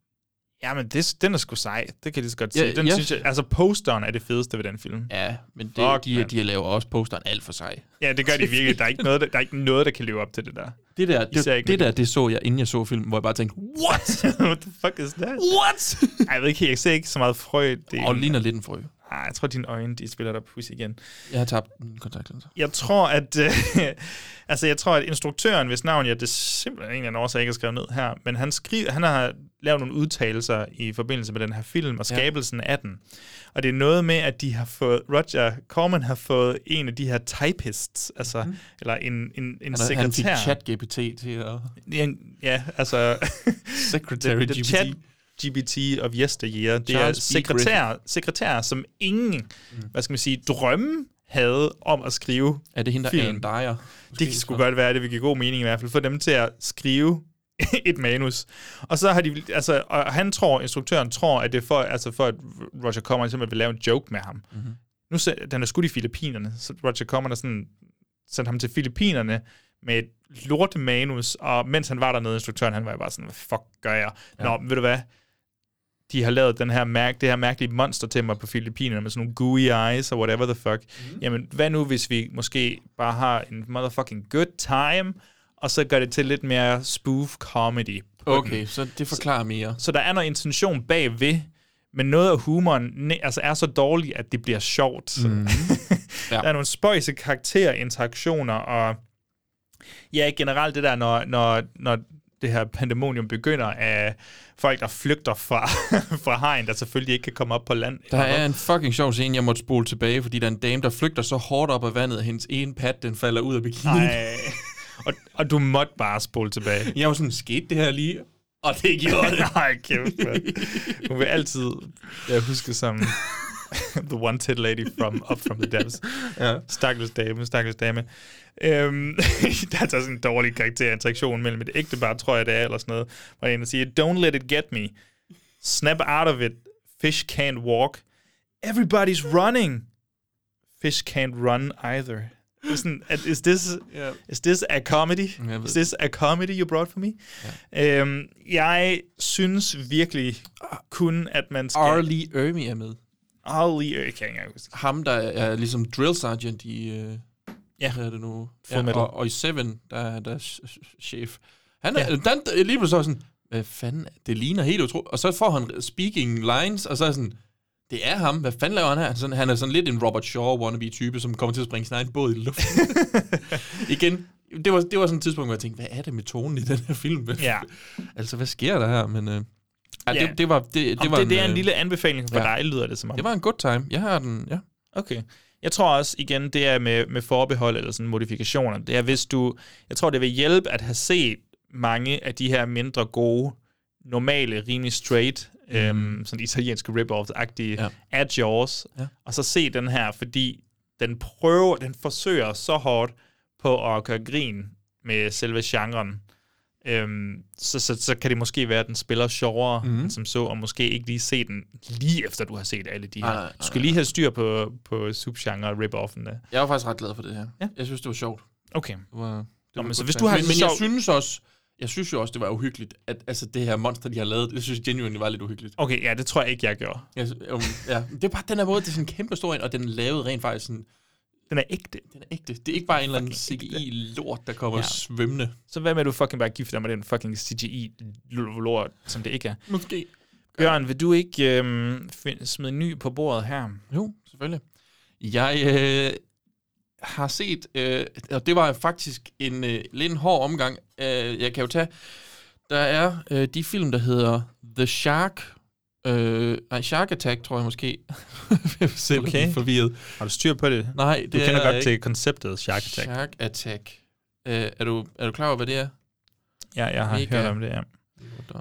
Jamen, det, den er sgu sej. Det kan jeg lige så godt Ja, sige. Den ja. synes jeg, altså, posteren er det fedeste ved den film. Ja, men det, Fuck, de, mand. de laver også posteren alt for sig. Ja, det gør de virkelig. Der er ikke noget, der, der, er ikke noget, der kan leve op til det der. Det der, Især det, ikke det, med der, det så jeg, inden jeg så filmen, hvor jeg bare tænkte, what? What the fuck is that? What? Ej, jeg ved ikke, jeg ser ikke så meget frø. Det, Og ligner lidt en frø. Ej, jeg tror, dine øjne de spiller dig pus igen. Jeg har tabt min kontaktlinser. Jeg tror, at, øh, altså, jeg tror, at instruktøren, hvis navn jeg det simpelthen en eller anden årsag ikke har skrevet ned her, men han, skriver, han har lavet nogle udtalelser i forbindelse med den her film og skabelsen af den. Og det er noget med, at de har fået, Roger Corman har fået en af de her typists, altså, mm. eller en, en, en Mhm. Han, sekretær. han fik chat-GPT til at... Ja, ja altså... Secretary the GPT. Chat GPT of yesteryear, det er Charles B. Mhm. sekretær, sekretær, som ingen, mm. hvad skal man sige, drømme havde om at skrive. Er det hende, der Film. er en dejer? Det kan sgu godt være, det vil give god mening i hvert fald, for dem til at skrive et manus. Og så har de, altså, og han tror, instruktøren tror, at det er for, altså for at Roger Corman simpelthen vil lave en joke med ham. Mm-hmm. Nu så, den er skudt i Filippinerne, så Roger Corman er sådan, sendte ham til Filippinerne med et lort manus, og mens han var dernede, instruktøren, han var jo bare sådan, hvad fuck gør jeg? Ja. Nå, ved du hvad? De har lavet den her mærk, det her mærkelige monster til mig på Filippinerne med sådan nogle gooey eyes og whatever the fuck. Mm. Jamen, hvad nu, hvis vi måske bare har en motherfucking good time, og så gør det til lidt mere spoof comedy. på den. Okay, så det forklarer mere. Så der er noget intention bagved, men noget af humoren ne- altså er så dårlig, at det bliver sjovt. Mm. ja. Der er nogle spøjse karakterinteraktioner, og ja, generelt det der, når, når, når det her pandemonium begynder af folk, der flygter fra, fra hegn, der selvfølgelig ikke kan komme op på land. Der er en fucking sjov scene, jeg måtte spole tilbage, fordi der er en dame, der flygter så hårdt op af vandet, at hendes ene pat, den falder ud af bikinien. Ej. Og, og du måtte bare spole tilbage. Jeg var sådan, skete det her lige? Og det gjorde det. Nej, kæft, mand. Hun vil altid jeg husker som the wanted lady from up from the depths. ja. Stakkels dame, stakkels dame. Øhm, der er altså sådan en dårlig karakterinteraktion mellem et ægtepar, tror jeg det er, eller sådan noget. Hvor en siger, don't let it get me. Snap out of it. Fish can't walk. Everybody's running. Fish can't run either. Det er Sådan, at, is, this, yeah. is this a comedy? Jeg ved Is this a comedy you brought for me? Yeah. Øhm, jeg synes virkelig kun, at man skal... Arlie Ermy er med. Arlie, jeg kan ikke engang huske. Ham, der er ligesom drill sergeant i... Øh, Ja. Hvad er det nu? Full Metal. og, og i Seven, der er der er ch- ch- chef. Han er, ja. den, lige pludselig så er jeg sådan, hvad fanden, det ligner helt utroligt. Og så får han speaking lines, og så er sådan, det er ham, hvad fanden laver han her? Sådan, han er sådan lidt en Robert Shaw wannabe-type, som kommer til at springe sin egen båd i luften. Igen, det var, det var sådan et tidspunkt, hvor jeg tænkte, hvad er det med tonen i den her film? Ja. altså, hvad sker der her? Men øh, ja, Ja. det, det, var, det, det, Det, var var det, en, det er øh, en lille anbefaling for ja. ja. dig, lyder det som om. Det var en good time. Jeg har den, ja. Okay. Jeg tror også, igen, det er med, med forbehold eller sådan modifikationer. Det er, hvis du... Jeg tror, det vil hjælpe at have set mange af de her mindre gode, normale, rimelig straight, mm. øhm, sådan italienske rip-offs-agtige Ja. ja. af Jaws, Ja. ja. og så se den her, fordi den prøver, den forsøger så hårdt på at gøre grin med selve genren. Øhm, så, så, så kan det måske være, at den spiller sjovere mm. som så, og måske ikke lige se den lige efter, du har set alle de her. Nej, nej, nej, du skal lige have styr på, på subgenre og rip-offene. Jeg var faktisk ret glad for det her. Ja. Jeg synes, det var sjovt. Okay. Det var, det var men et så godt hvis du time. har men, det men jeg sjovt- synes også, jeg synes jo også, det var uhyggeligt, at altså, det her monster, de har lavet, jeg synes genuinely var lidt uhyggeligt. Okay, ja, det tror jeg ikke, jeg gjorde. Jeg, um, ja. Det er bare den her måde, det er sådan en kæmpe stor en, og den er lavet rent faktisk sådan, Den er ægte. den er ægte. Det er ikke bare en eller anden CGI-lort, der kommer ja. Ja. svømmende. Så hvad med, at du fucking bare gifter dig med den fucking CGI-lort, som det ikke er? Måske. Bjørn, vil du ikke øhm, find, smide en ny på bordet her? Jo, selvfølgelig. Jeg øh, har set, øh, og det var faktisk en øh, lidt en hård omgang, øh, jeg kan jo tage, der er øh, de film, der hedder The Shark, øh, nej, Shark Attack, tror jeg måske. jeg er selv okay. Okay. forvirret. Har du styr på det? Nej, det Du det kender er godt ikke. til konceptet Shark Attack. Shark Attack. Øh, er, du, er du klar over, hvad det er? Ja, jeg har Mega. hørt om det, ja.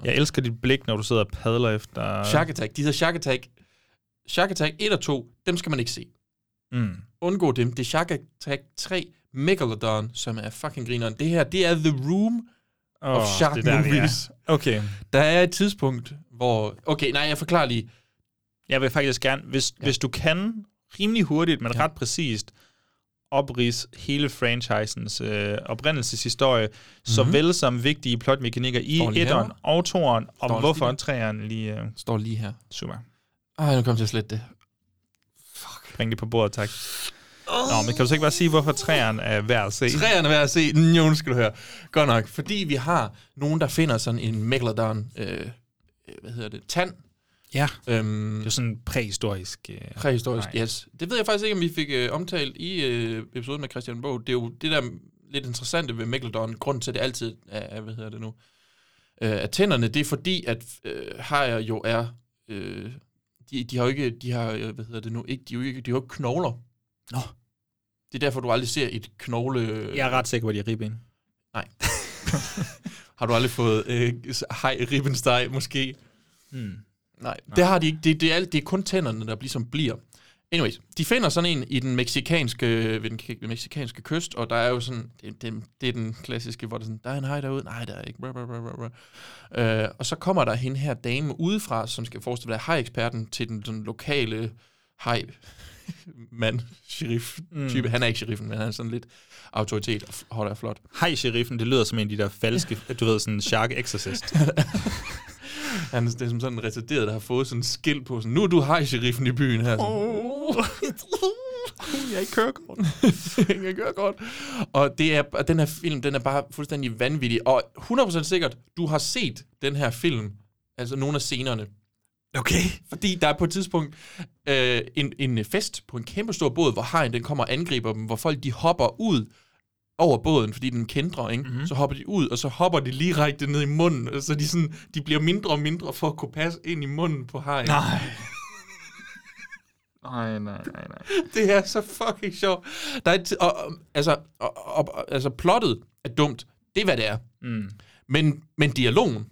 Jeg elsker dit blik, når du sidder og padler efter... Shark Attack, de hedder Shark Attack. Shark Attack 1 og 2, dem skal man ikke se. Mm. Undgå dem. Det er Shark Attack 3, Megalodon, som er fucking grineren. Det her, det er The Room. Oh, Of shark det er der, vi er. movies. Okay. Der er et tidspunkt, hvor... Okay, nej, jeg forklarer lige. Jeg vil faktisk gerne, hvis, ja. hvis du kan rimelig hurtigt, men ja. ret præcist, oprids hele franchisens øh, oprindelseshistorie, mm-hmm. såvel som vigtige plotmekanikker i Står lige her. etteren og toeren, Står og der hvorfor lige. træerne lige... Øh, Står lige her. super. Ej, nu kom jeg slet det. Bring det på bordet, tak. Nå, men kan du så ikke bare sige, hvorfor træerne er værd at se? Træerne er værd at se. Jo, nu skal du høre. Godt nok. Fordi vi har nogen, der finder sådan en Megalodon... Øh, hvad hedder det? Tand. Ja. Øhm, Det er jo sådan præhistorisk. Øh, Præhistorisk, Nej. yes. Det ved jeg faktisk ikke, om vi fik øh, omtalt i øh, episoden med Christian Bog. Det er jo det der lidt interessante ved Megalodon. Grunden til, at det altid er, er hvad hedder det nu, øh, er tænderne, det er fordi, at øh, hajer jo er... Øh, de, de har jo ikke, de har, øh, hvad hedder det nu, ikke, de, er jo ikke, de har jo ikke knogler. Nå. Det er derfor, du aldrig ser et knogle... øh, jeg er ret sikker på, at de er ribben. Har du aldrig fået øh, hej ribbensteg, måske? Mm. Nej, det har de ikke. Det, det, er, alt- det er kun tænderne, der ligesom bliver. Anyways, de finder sådan en i den meksikanske, ved den ke- meksikanske kyst, og der er jo sådan, det, det, det er den klassiske, hvor der er sådan, der er en hej derude, nej, der er ikke, brr, brr, brr, brr, brr. Øh, og så kommer der hende her dame udefra, som skal forestille at være hejeksperten til den, den lokale hej mand, sheriff type. Mm. Han er ikke sheriffen, men han er sådan lidt autoritet og f- holder flot. Hej, sheriffen, det lyder som en af de der falske, du ved, sådan shark exorcist. Han er det er som sådan en retarderet, der har fået sådan en skilt på, sådan, nu er du hej-sheriffen i byen her. Oh. jeg er ikke kørekort. jeg er kørekort. Og det er, og den her film, den er bare fuldstændig vanvittig. Og 100% sikkert, du har set den her film, altså nogle af scenerne. okay. Fordi der er på et tidspunkt øh, en, en fest på en kæmpe stor båd, hvor hajen den kommer og angriber dem, hvor folk de hopper ud over båden, fordi den kendrer, ikke? Mhm. Mm-hmm. Så hopper de ud, og så hopper de direkte ned i munden, og så de, sådan, de bliver mindre og mindre for at kunne passe ind i munden på hajen. Nej. nej, nej, nej, nej. Det er så fucking sjovt. Der er et, ti- og, og, altså, og, og, og, altså, plottet er dumt. Det er, hvad det er. Mm. Men, men dialogen,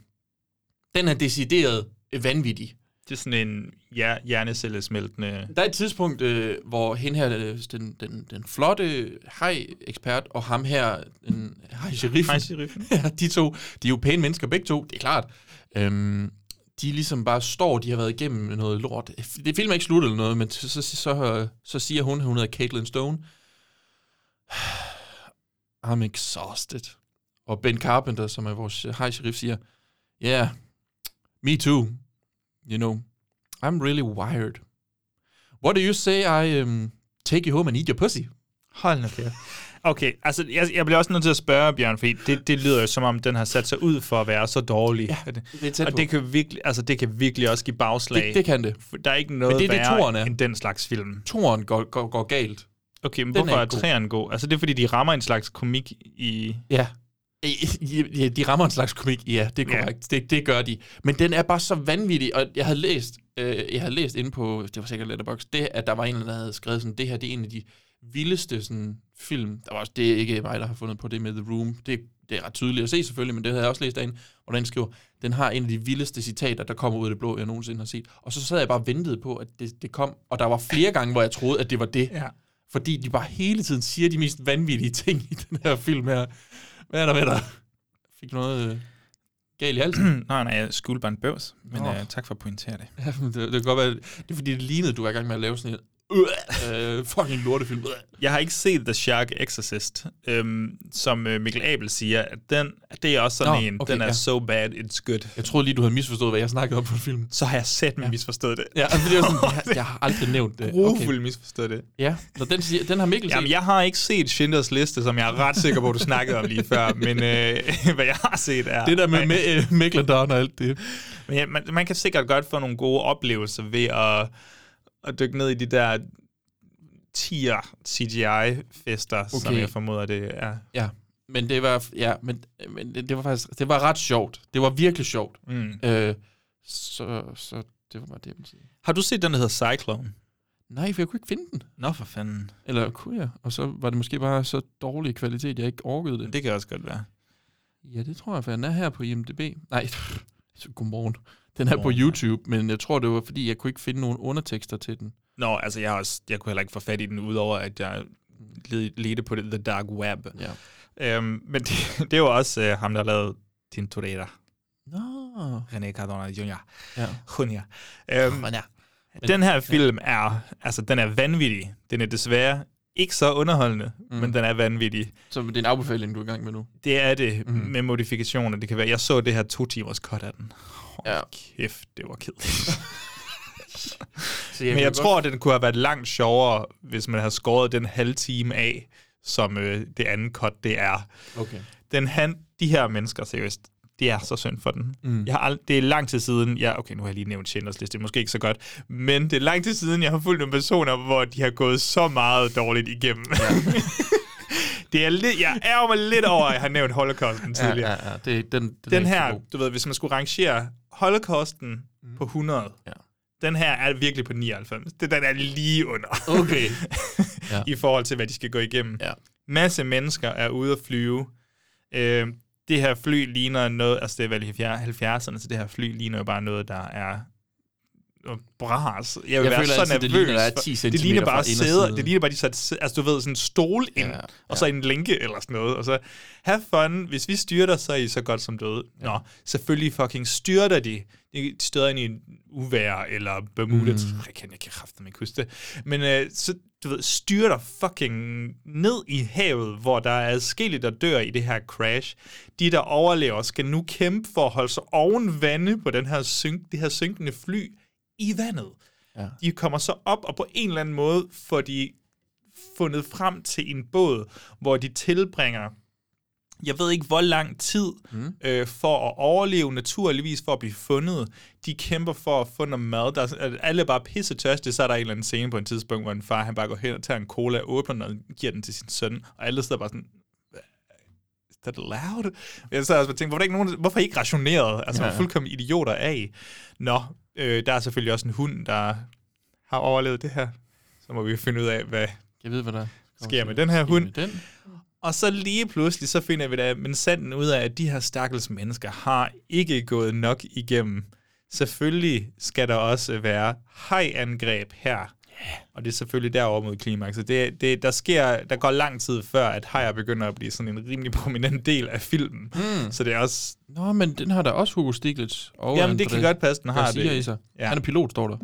den er decideret vanvittig. Det er sådan en hjer- hjernecellesmeltende... Der er et tidspunkt, øh, hvor hende her, øh, den, den, den flotte hej-ekspert, og ham her, den hej-sheriffen, Hej, sheriffen. ja, de to, de er jo pæne mennesker begge to, det er klart. Øhm, de ligesom bare står, de har været igennem noget lort. Det film er ikke slut eller noget, men så, så, så, så siger hun, hun hedder Caitlin Stone. I'm exhausted. Og Ben Carpenter, som er vores øh, hej sheriff, siger, yeah, me too. You know, I'm really wired. What do you say I um, take you home and eat your pussy? Hold nu kæft. Okay, altså jeg, jeg bliver også nødt til at spørge, Bjørn, fordi det, det lyder jo som om, den har sat sig ud for at være så dårlig. Ja, det er tæt og på. det kan, virkelig, altså, det kan virkelig også give bagslag. Det, det kan det. For Der er ikke noget Men det er det, toeren værre er. end den slags film. Toren går, går, går galt. Okay, men Den er hvorfor er, ikke god. træerne god? Altså det er, fordi de rammer en slags komik i... Ja. Ja, de rammer en slags komik, ja, det er Ja. korrekt. Det, det gør de. Men den er bare så vanvittig, og jeg havde læst, øh, jeg havde læst inde på, det var sikkert Letterboxd, det, at der var en, eller anden, der havde skrevet sådan, det her, det er en af de vildeste sådan, film. Der var også, det er ikke mig, der har fundet på det med The Room. Det, det er ret tydeligt at se selvfølgelig, men det havde jeg også læst derinde, hvor den skriver, den har en af de vildeste citater, der kommer ud af det blå, jeg nogensinde har set. Og så sad jeg bare og ventede på, at det, det kom, og der var flere gange, hvor jeg troede, at det var det fordi de bare hele tiden siger de mest vanvittige ting i den her film her. Hvad er der med dig? Fik du noget øh, galt i halsen? nej, nej, jeg skulle bare en bøvs, men Nå. øh, tak for at pointere det. Ja, men det, det kan godt være, det er fordi, det lignede, du var i gang med at lave sådan en øh, fucking lortefilm. Øh. Jeg har ikke set The Shark Exorcist, øhm, som øh, Mikkel Abel siger, at den, at det er også sådan Nå, en, okay, den er ja. so bad, it's good. Jeg troede lige, du havde misforstået, hvad jeg snakkede om på filmen. Så har jeg sæt ja. Øh, misforstået det. Ja, altså, det var sådan, jeg, jeg har aldrig nævnt det. Brugfuldt misforstået det. Ja, Nå, den, siger- den har Mikkel set. Jamen, jeg har ikke set Schindlers Liste, som jeg er ret sikker på, du snakkede om lige før, men øh, hvad jeg har set er... Det der med, Ej, med øh, Megalodon og alt det. Men ja, man, man kan sikkert godt få nogle gode oplevelser ved at, at dykke ned i de der tier CGI-fester, okay. som Okay. jeg formoder, det er. Ja, men det var, ja, men, men det, det var faktisk, det var ret sjovt. Det var virkelig sjovt. Mm. Øh, så, så det var bare det, jeg ville sige. Har du set den, der hedder Cyclone? Nej, for jeg kunne ikke finde den. Nå for fanden. Eller kunne jeg? Og så var det måske bare så dårlig kvalitet, jeg ikke orkede det. Det kan også godt være. Ja, det tror jeg, for den er her på IMDb. Nej, så godmorgen. Den er på Godmorgen, ja. YouTube, men jeg tror, det var, fordi jeg kunne ikke finde nogen undertekster til den. Nå, altså jeg, har også, jeg kunne heller ikke få fat i den, udover at jeg led- ledte på det, The Dark Web. Ja. Øhm, men det, det er jo også øh, ham, der lavede Tintorera, Nå. René Cardona Jr. Ja. Junior. Øhm, Men ja. den her film er, altså den er vanvittig. Den er desværre ikke så underholdende, mm. men den er vanvittig. Så det er en afbefaling, du er i gang med nu. Det er det mm. med modifikationer. Det kan være, jeg så det her to timers cut af den. Hold Ja. ja. kæft, det var kedeligt. Så jeg Men jeg tror, den kunne have været langt sjovere, hvis man havde skåret den halve time af, som øh, det andet cut, det er. Okay. Den han, de her mennesker, seriøst, det er så synd for den. Mm. Jeg har ald- det er lang tid siden, ja, okay, nu har jeg lige nævnt Schindlers List, det er måske ikke så godt, men det er lang tid siden, jeg har fulgt nogle personer, hvor de har gået så meget dårligt igennem. Ja. det er lidt, jeg ærger mig lidt over, at jeg har nævnt Holocausten Ja, tidligere. Ja, ja, ja. Det, er- den, den, ja. Den er ikke så her, god. du ved, hvis man skulle rangere Holocausten mm. på 100, Ja. den her er virkelig på 99. Det den er lige under. Okay. Uh. Ja. ja. I forhold til, hvad de skal gå igennem. Ja. Masse mennesker er ude at flyve. Øh, det her fly ligner noget, altså det er vel i 70'erne, så det her fly ligner jo bare noget, der er noget bras. Jeg vil Jeg være føler så altid, nervøs. det ligner, der er for- 10 det ligner centimeter bare fra sæder. indersiden. Det ligner bare, de satte, sæ- altså du ved, sådan en stol ind, Ja, og så en linke eller sådan noget. Og så, have fun. Hvis vi styrter, så er I så godt som døde. Nå, selvfølgelig fucking styrter de. De styrter ind i en uvær eller Bermuda. Mm. Jeg kan ikke kræfte, man huske det. Men øh, så, du ved, styrter fucking ned i havet, hvor der er adskillige, der dør i det her crash. De, der overlever, skal nu kæmpe for at holde sig oven vande på den her synk, det her synkende fly i vandet. Ja. De kommer så op, og på en eller anden måde får de fundet frem til en båd, hvor de tilbringer, jeg ved ikke hvor lang tid, mm. øh, for at overleve, naturligvis for at blive fundet. De kæmper for at få noget mad. Der, er- alle er bare pisse tørste, så er der en eller anden scene på en tidspunkt, hvor en far han bare går hen og tager en cola, åbner den og giver den til sin søn, og alle sidder bare sådan, is that allowed? Jeg sad også og tænkte, hvorfor er, der ikke nogen, hvorfor er I ikke rationeret? Altså, ja. fuldkommen idioter af. Nå, øh, der er selvfølgelig også en hund, der har overlevet det her. Så må vi finde ud af, hvad, Jeg ved, hvad der kommer Sker til. med den her Sker hund? med Den. Og så lige pludselig, så finder vi da men sanden ud af, at de her stakkels mennesker har ikke gået nok igennem. Selvfølgelig skal der også være hej-angreb her. Yeah. Og det er selvfølgelig derover mod klimakset. Det, det, der, sker, der går lang tid før, at hajer begynder at blive sådan en rimelig prominent del af filmen. Mm. Så det er også... Nå, men den har der også Hugo Stiglitz. Og Jamen, det kan godt passe, den har har det. I det. sig. Ja. Ja. Han er pilot, står der.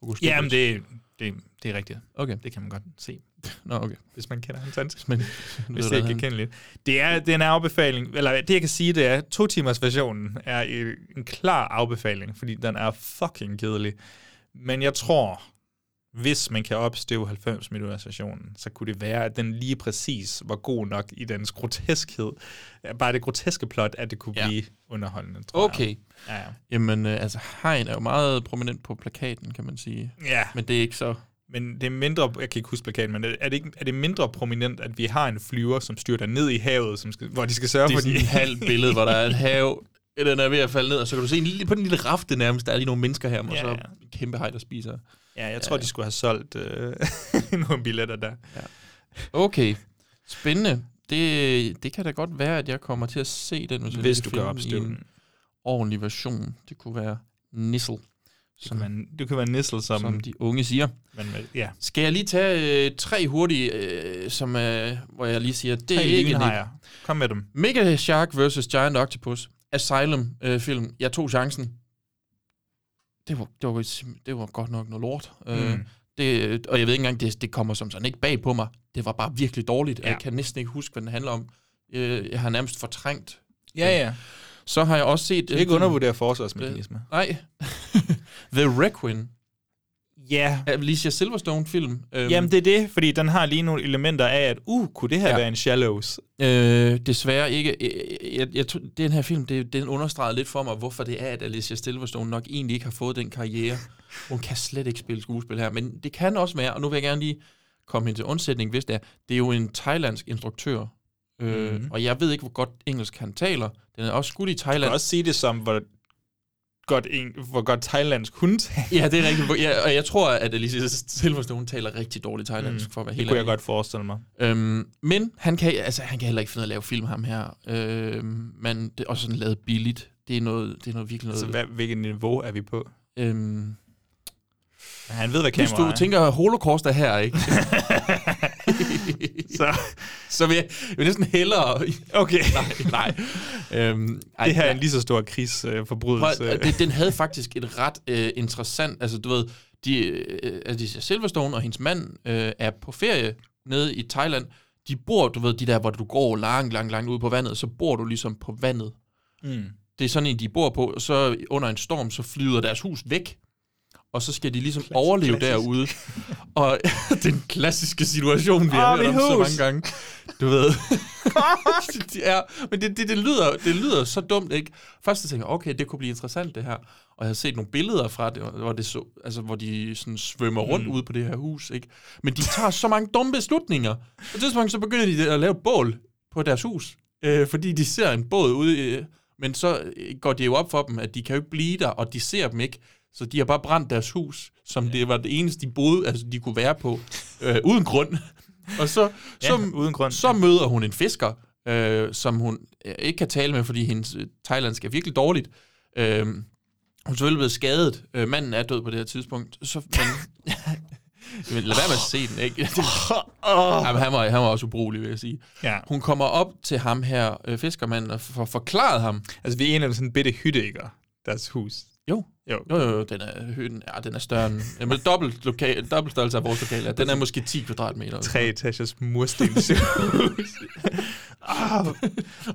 Hugo Stiglitz. Jamen, det, det, det er rigtigt. Okay. Det kan man godt se, Nå, okay. hvis man kender hans ansigt. Men, Hvis det ikke kan kende lidt. Det er, det er en afbefaling, eller det jeg kan sige, det er, to timers versionen er øh, en klar afbefaling, fordi den er fucking kedelig. Men jeg tror, hvis man kan opstøve 90 minutters versionen, så kunne det være, at den lige præcis var god nok i dens groteskhed. Bare det groteske plot, at det kunne Ja. ja. blive underholdende, tror jeg. Okay. Ja, ja. Jamen, øh, altså, hegn er jo meget prominent på plakaten, kan man sige. ja. Men det er ikke så... Men det er mindre, jeg kan ikke huske plakaten, men er det, ikke, er det mindre prominent, at vi har en flyver, som styrter ned i havet, som skal, hvor de skal sørge Det for, er at de sådan et halvt billede, hvor der er et hav, den er ved at falde ned, og så kan du se en lille, på den lille rafte nærmest, der er lige nogle mennesker her, og Ja, så ja. en kæmpe hej, der spiser. Ja, jeg tror, de skulle have solgt øh, nogle billetter der. Okay, spændende. Det, det kan da godt være, at jeg kommer til at se den, hvis, jeg Hvis kan du finde kan den i opstøve en den. ordentlig version. Det kunne være Nissel, Du kan, være, du kan være nissel, som, som som de. de unge siger. Man, ja. Skal jeg lige tage øh, tre hurtige, øh, som, øh, hvor jeg lige siger, det er Tre ikke en lynhajer. Kom med dem. Mega Shark vs. Giant Octopus. Asylum-film. Øh, film. jeg tog chancen. Det var, det, var, sim- det var godt nok noget lort. Mm. Øh, det, og jeg ved ikke engang, det, det kommer som sådan ikke bag på mig. Det var bare virkelig dårligt. Ja. Ja. Jeg kan næsten ikke huske, hvad den handler om. Øh, jeg har nærmest fortrængt. Ja, ja. Så har jeg også set... øh, Ikke undervurdere forsvarsmekanismer. Nej. The Requiem. Ja, Af Alicia Silverstone-film. Øhm, Jamen, det er det, fordi den har lige nogle elementer af, at uh, kunne det her Ja. ja. være en shallows? Øh, desværre ikke. Jeg, jeg, jeg, tror- den her film, det, den understregede lidt for mig, hvorfor det er, at Alicia Silverstone nok egentlig ikke har fået den karriere. Hun kan slet ikke spille skuespil her, men det kan også være, og nu vil jeg gerne lige komme hende til undsætning, hvis det er, det er jo en thailandsk instruktør, øh, mm. Mhm. og jeg ved ikke, hvor godt engelsk han taler. Den er også skudt i Man Thailand. kan også sige det som, hvor godt, en, hvor godt thailandsk hun taler. Ja, det er rigtigt. Ja, og jeg tror, at Alicia Silverstone taler rigtig dårligt thailandsk, mm. for at være Det helt kunne jeg ærlig. godt forestille mig. Øhm, men han kan, altså, han kan heller ikke finde ud af at lave film, ham her. Øhm, men det er også sådan lavet billigt. Det er noget, det er noget virkelig noget... Altså, hvad, hvilket niveau er vi på? øhm, Han ved, hvad Hvis kamera du er. tænker, holocaust er her, ikke? Så, så vil jeg, jeg vil næsten hellere... okay. nej, nej. Øhm, ej, Det her er jeg- en lige så stor krigsforbrydelse. Prøv, at- øh. det, den havde faktisk et ret øh, interessant, altså du ved, de, øh, altså Silverstone og hendes mand øh, er på ferie nede i Thailand. De bor, du ved, de der, hvor du går langt, langt, langt ud på vandet, så bor du ligesom på vandet. Mm. Det er sådan en, de bor på, og så under en storm, så flyder deres hus væk. Og så skal de ligesom klassisk, overleve klassisk. klassisk. derude. Og den klassiske situation, vi har Åh, hørt Ah, om mit så mange hus! gange. Du ved. de er, men det, det, det, lyder, det lyder så dumt, ikke? Først så tænker jeg, okay, det kunne blive interessant, det her. Og jeg har set nogle billeder fra det, hvor, det så, altså, hvor de sådan svømmer rundt mm. ude på det her hus, ikke? Men de tager så mange dumme beslutninger. På et tidspunkt, så begynder de at lave et bål på deres hus, øh, fordi de ser en båd ude. Øh, men så øh, går det jo op for dem, at de kan jo ikke blive der, og de ser dem ikke. Så de har bare brændt deres hus, som ja. det var det eneste, de boede, altså de kunne være på, øh, uden grund. Og så, Ja, så, uden grund. så møder hun en fisker, øh, som hun øh, ikke kan tale med, fordi hendes øh, thailandsk er virkelig dårligt. Øh, hun er selvfølgelig blevet skadet. Øh, manden er død på det her tidspunkt. Så, men, Jamen, lad være med at se den, ikke? Jamen, han, var, han var også ubrugelig, vil jeg sige. Ja. Hun kommer op til ham her, øh, fiskermanden, og får forklaret ham. Altså, vi er en af sådan en bitte hytte, ikke? Deres hus. Jo, Jo. jo, jo, den er, højden, ja, den er større end... Jamen, dobbelt, loka, dobbelt størrelse af vores lokale. Den er måske 10 kvadratmeter. Tre etagers murstenshus.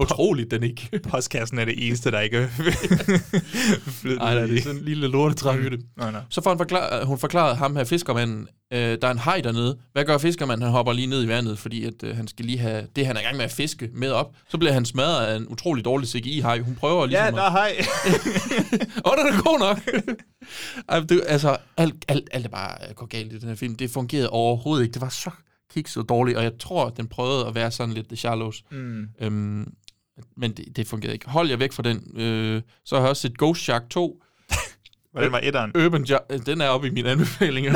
Utroligt, den ikke. Postkassen er det eneste, der ikke er flyttet. Nej, det i. er sådan en lille lortetræhytte. Nå, nå. Så får han forklar, øh, hun forklaret ham her fiskermanden, øh, der er en hej dernede. Hvad gør fiskermanden? Han hopper lige ned i vandet, fordi at, øh, han skal lige have det, han er i gang med at fiske med op. Så bliver han smadret af en utrolig dårlig CGI-hej. Hun prøver ligesom Ja, at- der er hej. Åh, den er god nok. Ej, det, altså, alt, alt, alt er bare øh, går galt i den her film. Det fungerede overhovedet ikke. Det var så kikset dårligt, og jeg tror, at den prøvede at være sådan lidt The Shallows. Mm. Øhm, men det, det fungerede ikke. Hold jer væk fra den. Øh, så har jeg også set Ghost Shark 2. Hvordan var etteren? Urban jo- øh, Den er oppe i mine anbefalinger.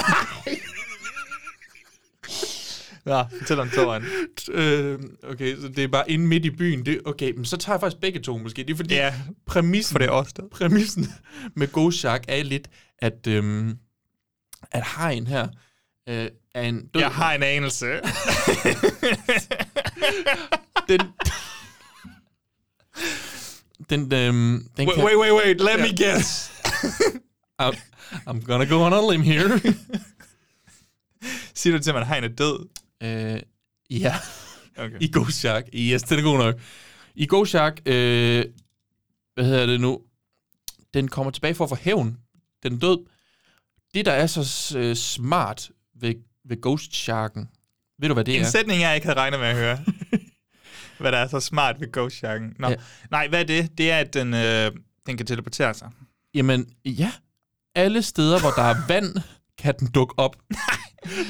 Ja, fortæl om toeren. øh, okay, så det er bare inde midt i byen. Det, okay, men så tager jeg faktisk begge to måske. Det er fordi, Ja, præmissen... for det er også der. præmissen med Ghost Shark er lidt, at, øhm, at hajen her øh, er en død. Jeg har en anelse. Den, den, øhm, den Wait, kan, wait, wait, wait. Let me guess. I'm, I'm gonna go on a limb here. Siger du til mig, at hegn er død? øh, ja, Okay. i Ghost Shark. Yes, den er god nok. I Ghost Shark, øh, hvad hedder det nu? Den kommer tilbage for at få hævn. Den er død. Det, der er så s- øh, smart ved, ved Ghost Sharken, ved du, hvad det En er? sætning, jeg ikke havde regnet med at høre. hvad der er så smart ved ghost sharken. Nå. Ja. Ja. Nej, hvad er det? Det er, at den, øh, den kan teleportere sig. Jamen, ja. Alle steder, hvor der er vand, kan den dukke op.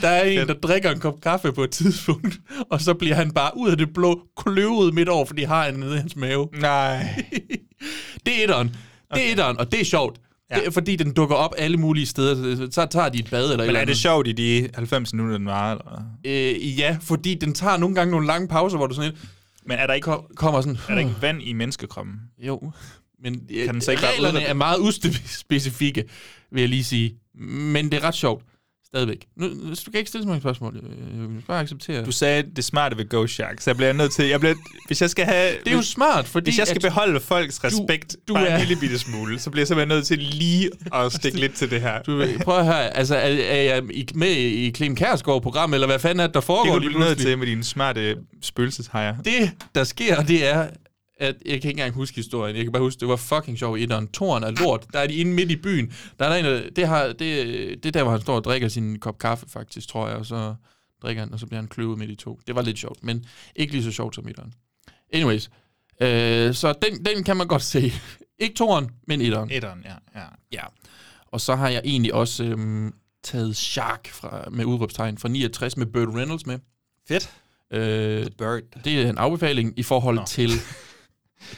Der er en, der drikker en kop kaffe på et tidspunkt, og så bliver han bare ud af det blå kløvet midt over, fordi har han nede i hans mave. Nej. Det er etteren. Det er etteren, og det er sjovt. Ja. Det er, fordi den dukker op alle mulige steder. Så tager de et bad eller et Men eller er det andet. sjovt i de 90 minutter, den var? Eller? hvad? Øh, ja, fordi den tager nogle gange nogle lange pauser, hvor du sådan lidt Men er der ikke, kom- kommer sådan... er der ikke vand i menneskekroppen? Jo, men kan den så ikke bare reglerne udnytte- er meget uspecifikke, vil jeg lige sige. Men det er ret sjovt. Stadigvæk. Nu, nu- du kan ikke stille så mange spørgsmål. Øh, Jeg vil bare acceptere. Du Du, sagde det smarte ved ghost shark, så jeg bliver nødt til... Jeg bliver, hvis jeg skal have... det er jo smart, fordi... Hvis jeg skal at- beholde folks respekt du du bare er- en lille bitte smule, så bliver jeg simpelthen nødt til lige at stikke lidt til det her. du, ved- prøv at høre, altså, er, er jeg i- med i Clem Kærsgaard-programmet, eller hvad fanden er det, der det foregår kunne du blive nødt til med dine smarte spøgelseshejer. Det, der sker, det er, at jeg kan ikke engang huske historien. Jeg kan bare huske, det var fucking sjovt i etteren. Toren er lort. Der er de inde midt i byen. Der er der en, der, det, har, det, det er der, hvor han står og drikker sin kop kaffe, faktisk, tror jeg. Og så drikker han, og så bliver han kløvet midt i to. Det var lidt sjovt, men ikke lige så sjovt som etteren. Anyways, øh, så den, den kan man godt se. Ikke toren, men etteren. Etteren, ja. ja. Ja. Og så har jeg egentlig også øhm, taget Shark fra, med udråbstegn fra 69 med Burt Reynolds med. Fedt. Øh, Bird. det er en afbefaling i forhold Nå. til,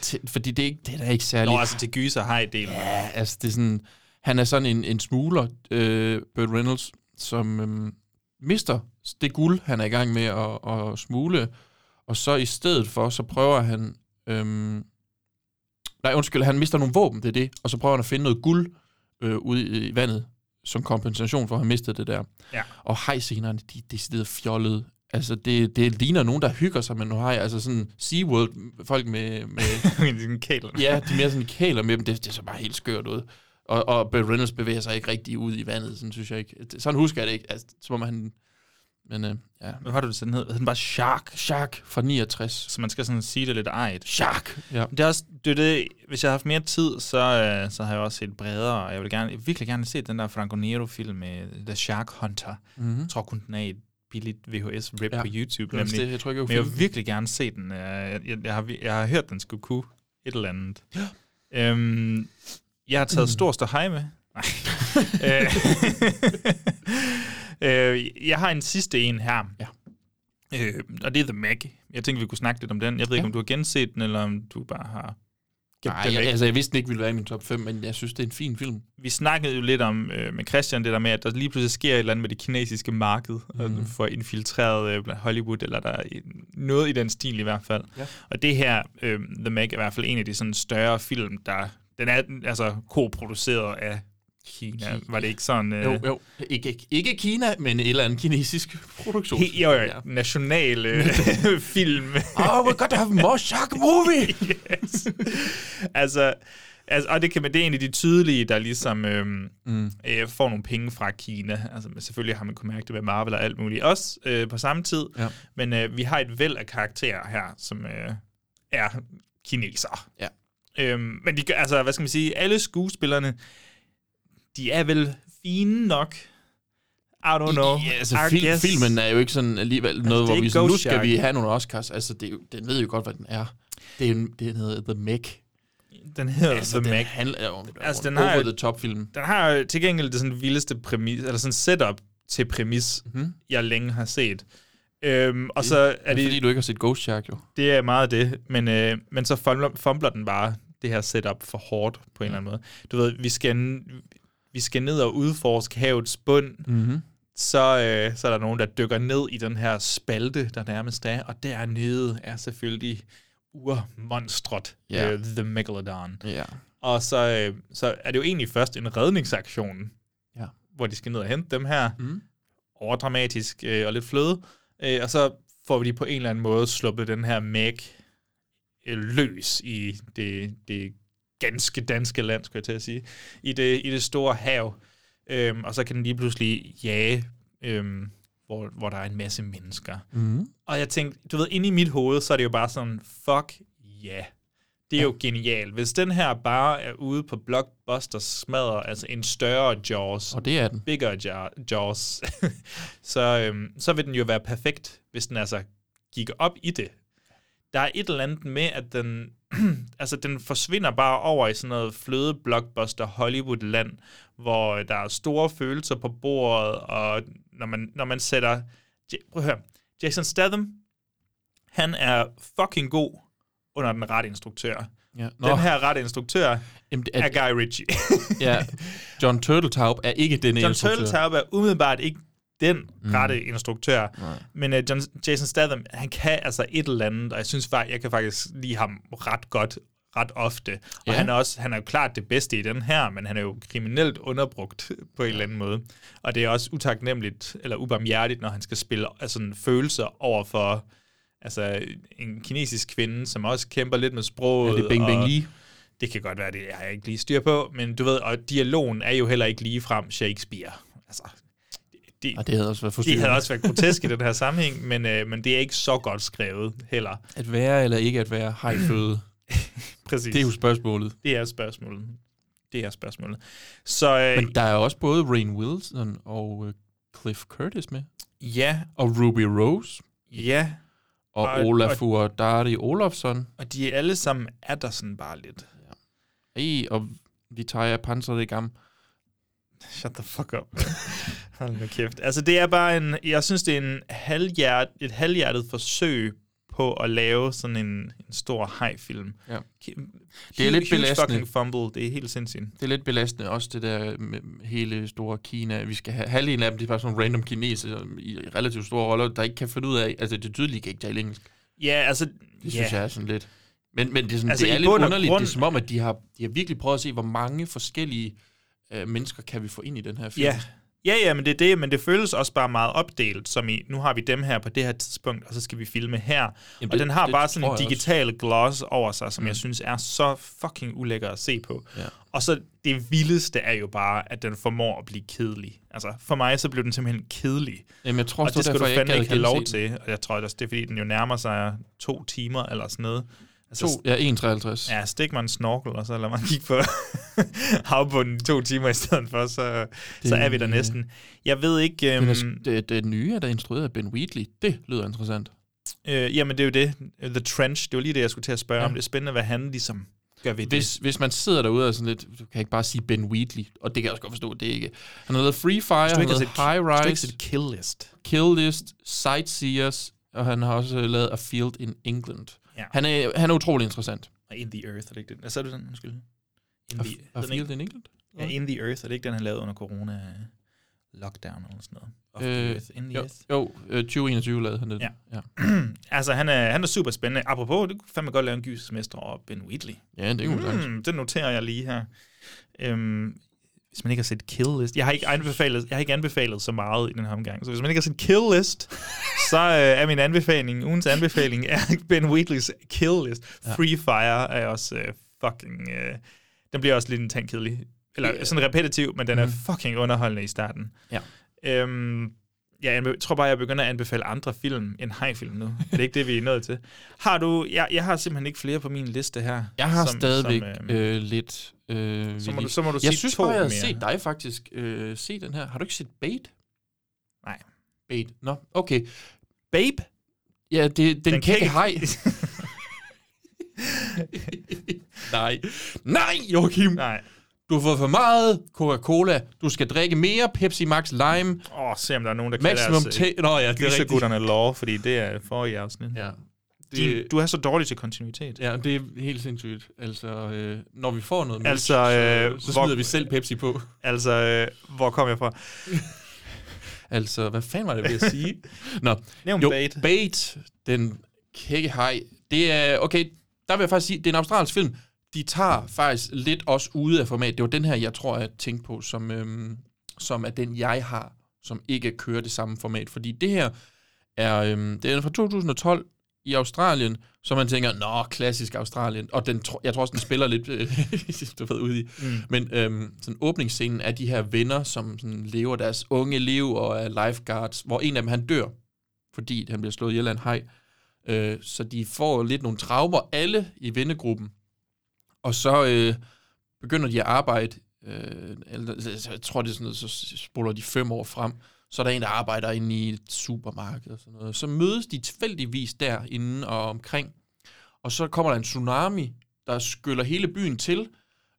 til... Fordi det er, ikke, det er da ikke særlig... Nå, altså til gyser hej delen. Ja, altså det er sådan... Han er sådan en, en smugler, øh, Burt Reynolds, som øh, mister det guld, han er i gang med at, at smule. Og så i stedet for, så prøver han... Øh, nej, undskyld, han mister nogle våben, det er det. Og så prøver han at finde noget guld øh, ude i, i vandet. som kompensation for at have mistet det der. Ja. Og hejscenerne, de er decideret fjollede. Altså, det, det ligner nogen, der hygger sig med nogle hej. Altså sådan SeaWorld, folk med, med Sådan kæler. Ja, de er mere sådan kæler med dem. Det, det så bare helt skørt ud. Og, og Burt Reynolds bevæger sig ikke rigtig ud i vandet, sådan synes jeg ikke. Det- Sådan husker jeg det ikke. Altså, som om han... Men øh, ja. Hvad var det, det sådan hed? Hed Den bare Shark. Shark fra 69. Så man skal sådan sige det lidt ejet. Shark! Ja. Det er også, det er det, hvis jeg har haft mere tid, så, øh, så har jeg også set bredere, og jeg vil gerne, jeg vil virkelig gerne se den der Franco Nero-film, øh, The Shark Hunter. Mm-hmm. Jeg tror kun, den er i et billigt VHS-rip Mhm. Ja, ja. på YouTube, det er også nemlig. det, jeg tror ikke, jeg Men jeg kunne vil virkelig gerne se den. Øh, Jeg, jeg, jeg, har, vi- jeg har hørt, den skulle kunne et eller andet. Ja. Øhm, jeg har Mm. taget stor stå hej med. Nej. Øh, øh, jeg har en sidste en her. Ja. Øh, og det er The Meg. Jeg tænkte, vi kunne snakke lidt om den. Jeg ved ikke, Ja. om du har genset den, eller om du bare har gemt Nej, den jeg, væk. altså jeg vidste den ikke ville være i min top 5, men jeg synes, det er en fin film. Vi snakkede jo lidt om øh, med Christian, det der med, at der lige pludselig sker et eller andet med det kinesiske marked, mm. for infiltreret øh, blandt Hollywood, eller der er en- noget i den stil i hvert fald. Ja. Og det her, øh, The Meg, er i hvert fald en af de sådan større film, der den er altså koproduceret af Kina. Ki- Var det ikke sådan? Øh, Jo, jo. Ikke, ikke, ikke Kina, men en eller anden kinesisk produktion. He, jo, jo, ja. national øh, film. Oh, we're gonna have more shark movie! yes. altså, altså, og det, kan, man, det er en af de tydelige, der ligesom øhm, mm. øh, får nogle penge fra Kina. Altså, men selvfølgelig har man kunnet mærke det med Marvel og alt muligt også øh, på samme tid. Ja. Men øh, vi har et væld af karakterer her, som øh, er kinesere. Ja. Øhm, men de, gør- altså, hvad skal man sige, alle skuespillerne, de er vel fine nok. I don't know. Ja, altså, I fil- guess. Altså, filmen er jo ikke sådan alligevel noget, det er hvor vi ikke sådan, nu Ghost skal Shark." vi have nogle Oscars. Altså, det er jo, den ved jo godt, hvad den er. Det er jo, det hedder The Meg. Den hedder Altså, altså, The den Meg. handler jo om Altså, den den har har over jo- the top film. den har jo til gengæld det sådan vildeste præmis, eller sådan setup til præmis, mm-hmm. jeg længe har set. Øhm, og så er Er Mhm. det... Fordi det, du ikke har set Ghost Shark, jo. det er meget det, men, øh, men så fumbler, fumbler den bare det her setup for hårdt på en eller anden måde. Du ved, vi skal, vi skal ned og udforske havets bund, Mm-hmm. så, øh, så er der nogen, der dykker ned i den her spalte, der nærmest er, og dernede er selvfølgelig urmonstret, Ja. yeah. øh, The Megalodon. Ja. Og så, øh, så er det jo egentlig først en redningsaktion, Ja. hvor de skal ned og hente dem her. Mm. Overdramatisk øh, og lidt fløde. Øh, og så får vi de på en eller anden måde sluppet den her Meg øh, løs i det, det ganske danske land, skulle jeg til at sige. I det, i det store hav. Øhm, og så kan den lige pludselig jage, øhm, hvor, hvor der er en masse mennesker. Mm-hmm. Og jeg tænkte, du ved, inde i mit hoved, så er det jo bare sådan, fuck ja. Yeah. Det er jo genialt. Hvis den her bare er ude på Blockbuster smadrer, altså en større Jaws, Og det er den. bigger Ja- Jaws, så, øhm, så vil den jo være perfekt, hvis den altså gik op i det. Der er et eller andet med, at den, altså den forsvinder bare over i sådan noget fløde blockbuster Hollywood-land, hvor øh, der er store følelser på bordet, og når man, når man sætter... Ja- Prøv at høre. Jason Statham, han er fucking god under den rette instruktør. Ja. Nå, Nå. Den her rette instruktør jamen, det er er, Guy Ritchie. ja. John Turteltaub er ikke den John instruktør. Turteltaub er umiddelbart ikke den rette mm. instruktør. Nej. Men uh, John, Jason Statham, han kan altså et eller andet, og jeg synes faktisk, jeg kan faktisk lide ham ret godt, ret ofte. Og Ja. ja. han, er også, han er jo klart det bedste i den her, men han er jo kriminelt underbrugt på en eller anden måde. Og det er også utaknemmeligt, eller ubarmhjertigt, når han skal spille altså, sådan følelser over for altså, en kinesisk kvinde, som også kæmper lidt med sproget. Er det Bing Bing og- Lee? det kan godt være, det har jeg ikke lige styr på, men du ved, og dialogen er jo heller ikke lige frem Shakespeare. Altså, det, det, Og det havde også været det forstyrrende. havde også været grotesk i den her sammenhæng, men, øh, men det er ikke så godt skrevet heller. At være eller ikke at være hejføde, Præcis. det er jo spørgsmålet. det er spørgsmålet. Det er spørgsmålet. Så øh, Men der er også både Rain Wilson og øh, Cliff Curtis med. ja, Og Ruby Rose. ja, Og, Og- Olafur Dari Olofsson. og de er alle sammen er der sådan bare lidt. Ej, og Vitaya Panzerigam. Shut the fuck up. Hold nu kæft. Altså, det er bare en... Jeg synes, det er en halvhjert, et halvhjertet forsøg på at lave sådan en, en stor hajfilm. Ja. Det er lidt belastende. fucking belastende. fumble. Det er helt sindssygt. Det er lidt belastende også, det der med hele store Kina. Vi skal have halvdelen af dem, det er bare sådan nogle random kinesere i relativt store roller, der ikke kan finde ud af, altså det er tydeligt, de kan ikke tale engelsk. Ja, altså... Det synes jeg er sådan lidt. Men, men det er, sådan, Altså, altså, det er i lidt bund og underligt. Grund... grund- Det er som om, at de har, de har virkelig prøvet at se, hvor mange forskellige øh, mennesker kan vi få ind i den her film. Ja. Ja, ja, men det er det, men det føles også bare meget opdelt, som i, nu har vi dem her på det her tidspunkt, og så skal vi filme her. Jamen, og det- den har det bare sådan tror en jeg også. digital gloss over sig, som mm. jeg synes er så fucking ulækker at se på. Ja. Og så det vildeste er jo bare, at den formår at blive kedelig. Altså, for mig så blev den simpelthen kedelig. Jamen, jeg tror Og også, det det var skal du derfor, jeg fandme gad ikke have have lov set den. til. Og jeg tror også, det er fordi, den jo nærmer sig to timer eller sådan noget. Altså, To, ja, 1,53. Ja. Ja, stik mig en snorkel, og så lad mig kigge på havbunden i to timer i stedet for, så, det, så er vi der øh, næsten. Jeg ved ikke... Øhm, Det, det, det nye er der instrueret af Ben Wheatley. Det lyder interessant. øh, jamen, det er jo det. The Trench, det var lige det, jeg skulle til at spørge ja. Ja. om. Det er spændende, hvad han ligesom gør ved det. Hvis, hvis man sidder derude og er sådan lidt, du kan ikke bare sige Ben Wheatley, og det kan jeg også godt forstå, det er ikke. Han har lavet Free Fire, du han ikke har har lavet set- Hvis High du ikke Rise, sætter kill list. Kill List, Sightseers, og han har også øh, lavet A Field in England. Ja. Han, er, han er utrolig interessant. Og In the Earth, er det ikke den? Hvad sagde du den? Undskyld. In A, the, a den er Field ikke, in England? ja, In the Earth, er det ikke den, han lavede under corona øh, lockdown eller sådan noget? Of the Øh, earth, in the Jo, earth. jo øh, 2021 lavede han det. Ja. ja. Altså, han er, han er super spændende. Apropos, det kunne fandme godt lave en gyssemester over Ben Wheatley. ja det er jo mm. Mm, det noterer jeg lige her. Øhm, hvis man ikke har set Kill List, jeg har ikke anbefalet, jeg har ikke anbefalet så meget i den her omgang, så hvis man ikke har set Kill List, så øh, er min anbefaling, ugens anbefaling, er Ben Wheatleys Kill List. Free Fire er også øh, fucking, øh, den bliver også lidt intens kedelig, eller sådan repetitiv, men den er fucking underholdende i starten. Mhm. Ja. Øhm, Ja, jeg anbe- tror bare, jeg begynder at anbefale andre film end hajfilm nu. Det er ikke det, vi er nået til. Har du... Jeg, jeg har simpelthen ikke flere på min liste her. Jeg har som- stadigvæk som, øh, øh, lidt... Øh, så, må vildt. du, så må du jeg sige synes to bare, jeg mere. har set dig faktisk øh, se den her. Har du ikke set Bait? Nej. Bait. Nå, okay. Babe? Ja, det, den, den kække kække- hej. Nej. Nej, Joachim. Nej. Nej. Du har fået for meget Coca-Cola. Du skal drikke mere Pepsi Max Lime. Åh, oh, se om der er nogen, der Maximum kan te... Nå ja, det er rigtigt. gutterne lov, fordi det er forrige afsnit. Ja. Ja. Din, du er så dårlig til kontinuitet. Ja, det er helt sindssygt. Altså, øh, når vi får noget Altså, mælk, øh, så, så hvor- smider vi selv Pepsi på. Altså, øh, hvor kom jeg fra? Altså, hvad fanden var det, jeg ville sige? Nå, Nævn jo, Bait. Bait, den kække hej. Det er, okay, der vil jeg faktisk sige, det er en australsk film. De tager faktisk lidt også ude af format. Det var den her, jeg tror, jeg tænkte på, som, øhm, som er den, jeg har, som ikke kører det samme format. Fordi det her er, øhm, det er fra 2012 i Australien, så man tænker, nå, klassisk Australien. Og den, tro- jeg tror også, den spiller lidt, øh, du ved, ude i. Mm. Men øhm, sådan åbningsscenen er de her venner, som sådan lever deres unge liv og er lifeguards, hvor en af dem, han dør fordi han bliver slået ihjel af en haj. Øh, så de får lidt nogle traumer, alle i vennegruppen. Og så øh, begynder de at arbejde, øh, eller, så- jeg tror det er sådan noget, så spoler de fem år frem. Så er der en, der arbejder inde i et supermarked og sådan noget. Så mødes de tilfældigvis derinde og omkring. Og så kommer der en tsunami, der skyller hele byen til.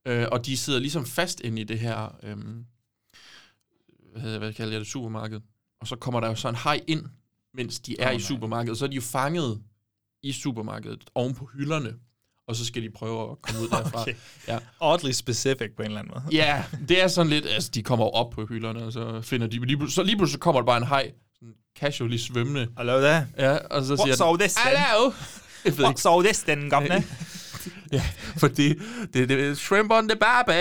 Øh, og de sidder ligesom fast inde i det her, øh, hvad, hedder, hvad kalder jeg det, supermarked. Og så kommer der jo så en haj ind, mens de er Åh, i nej. supermarkedet. Så er de jo fanget i supermarkedet oven på hylderne. Og så skal de prøve at komme ud derfra. Okay. Ja. Oddly specific på en eller anden måde. Ja, det er sådan lidt, altså de kommer jo op på hylderne, og så finder de, lige, plut- så lige pludselig kommer der bare en haj, sådan casually svømmende, Hello there. ja, og så What's siger den, all this then? Hello! Jeg ved ikke, What's all this then, governor? for det, det, det er shrimp on the barbie.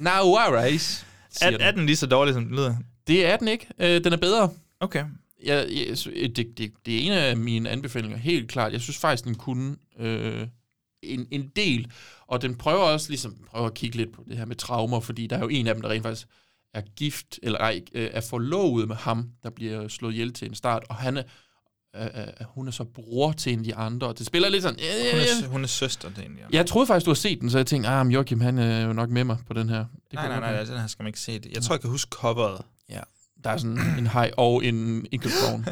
Now worries, siger Er, er den lige så dårlig, som den lyder? Det er den ikke. Øh, den er bedre. Okay. Jeg, jeg, sy- øh, det, det, det er en af mine anbefalinger, helt klart. Jeg synes faktisk, den kunne øh, en, en del. Og den prøver også ligesom, prøver at kigge lidt på det her med traumer, fordi der er jo en af dem, der rent faktisk er gift, eller ej, øh, er forlovet med ham, der bliver slået ihjel til en start, og han er, øh, øh, hun er så bror til en af de andre. og Det spiller lidt sådan... Øh, Hun er, øh, s- øh. hun er søster, det er egentlig. Jeg troede faktisk, du har set den, så jeg tænkte, ah, men Joachim, han er jo nok med mig på den her. Det Nej, nej, kan godt nej, være. nej, den her skal man ikke se. Jeg tror, jeg kan huske coveret. Oh, Der er sådan en hej og en enkeltvogn.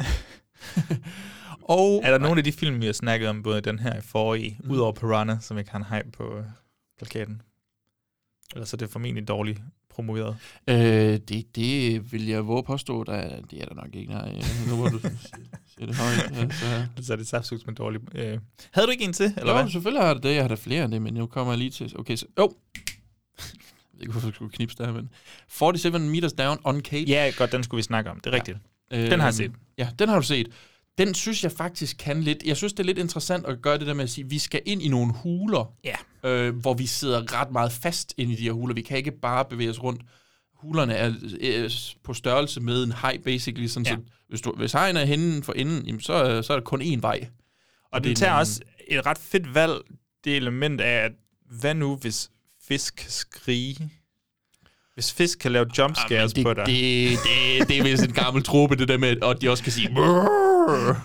og Er der nogle af de film, vi har snakket om, både den her og forrige, mm. udover Piranha, som ikke har en hype på øh, plakaten? Ellers er det formentlig dårligt promoveret. Øh, det, det vil jeg våge at påstå, der, det er der nok ikke. Nej, Øh, nu må du sige det højt. Altså. Så er det saftsugt med dårligt... Øh. Havde du ikke en til, eller Eller jo, hvad? selvfølgelig har det det. Jeg har da flere end det, men nu kommer jeg lige til... Okay, så... Jo! Jeg ved ikke, hvorfor jeg skulle knipse der, men... 47 meters down on Kate. Ja, godt, den skulle vi snakke om. Det er rigtigt. øh, den har jeg set. Ja, den har du set. Den synes jeg faktisk kan lidt. Jeg synes, det er lidt interessant at gøre det der med at sige, at vi skal ind i nogle huler, Ja. øh, hvor vi sidder ret meget fast inde i de her huler. Vi kan ikke bare bevæge os rundt. Hulerne er øh, på størrelse med en hej, basically. Sådan, Ja. ja. så, hvis, du, hvis hejen er henne for enden, jamen, så, er- så er der kun én vej. Og det er det tager en- også et ret fedt valg, det element af, at hvad nu hvis fisk kan skrige? Hvis fisk kan lave jumpscares Ah, det, på dig. det, det, det er vist en gammel trope, det der med, og de også kan sige...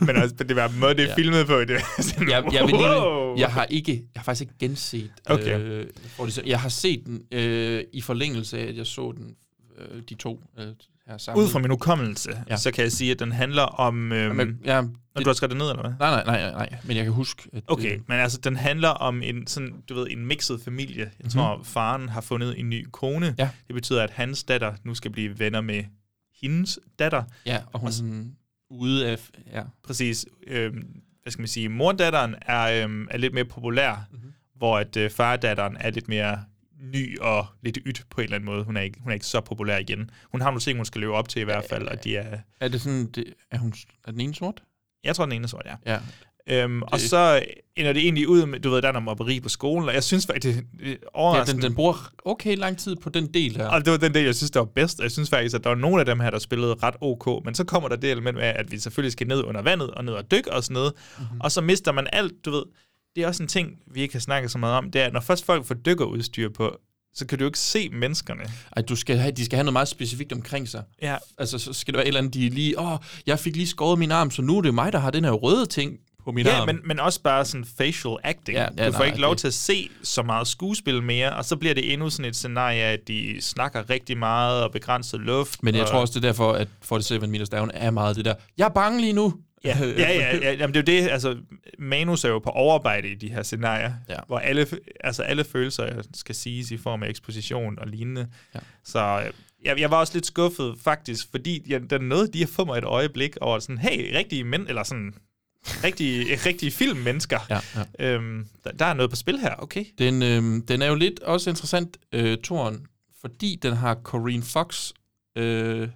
Men også på det var måde, det er filmet på. Det er sådan, jeg, jeg, vil wow. lige, jeg har ikke, jeg har faktisk ikke genset. Okay. Øh, hvor det så- jeg har set den øh, i forlængelse af, at jeg så den, øh, de to øh, her sammen. Ud fra min hukommelse, ja. Ja. så kan jeg sige, at den handler om... Øhm, Men, men, ja, når det, du har skrevet det ned, eller hvad? nej, nej, nej, nej, men jeg kan huske, at Okay, øh, men altså, den handler om en, sådan, du ved, en mixet familie. Jeg mm-hmm. tror, faren har fundet en ny kone. Mhm. Ja. Det betyder, at hans datter nu skal blive venner med hendes datter. ja, og hun er sådan ude af, ja, Præcis. Øhm, hvad skal man sige? Mordatteren er, øhm, er lidt mere populær, mm-hmm. hvor at øh, fardatteren er lidt mere ny og lidt ydt på en eller anden måde. Hun er ikke, hun er ikke så populær igen. Hun har nogle ting, hun skal leve op til i hvert fald, og de er... er det sådan, det, er, hun, er den ene sort? Jeg tror, den ene er sort, ja. Ja, Øhm, og så ender det egentlig ud med, du ved, der er noget mobberi på skolen, og jeg synes faktisk, det, det ja overraskende. den, den bruger okay lang tid på den del her. Og det var den del, jeg synes, der var bedst. Og Jeg synes faktisk, at der var nogle af dem her, der spillede ret ok. Men så kommer der det element med, at vi selvfølgelig skal ned under vandet og ned og dykke og sådan noget. Mm-hmm. Og så mister man alt, du ved. Det er også en ting, vi ikke har snakket så meget om. Det er, at når først folk får dykkerudstyr på, så kan du jo ikke se menneskerne. Ej, du skal have, de skal have noget meget specifikt omkring sig. Ja, Altså, så skal det være et eller andet, de lige, åh, jeg fik lige skåret min arm, så nu er det mig, der har den her røde ting på min ja arm. men, men også bare sådan facial acting. Ja, Ja, ja, ja, du får nej, ikke lov det- til at se så meget skuespil mere, og så bliver det endnu sådan et scenarie, at de snakker rigtig meget og begrænset luft. Men jeg og, tror også, det er derfor, at 47 Meters Down er meget det der, jeg er bange lige nu. Ja, ja, ja, ja jamen det er jo det, altså manus er jo på overarbejde i de her scenarier, Ja. hvor alle, altså alle følelser skal siges i form af eksposition og lignende. Ja. Så øh, jeg, jeg var også lidt skuffet faktisk, fordi jeg, der nåede de at få mig et øjeblik over sådan, hey, rigtige mænd, eller sådan, rigtige, rigtige filmmennesker. Ja, ja. Øhm, der, der er noget på spil her, okay. Den, øh, den er jo lidt også interessant, øh, Toren, fordi den har Corinne Fox øh,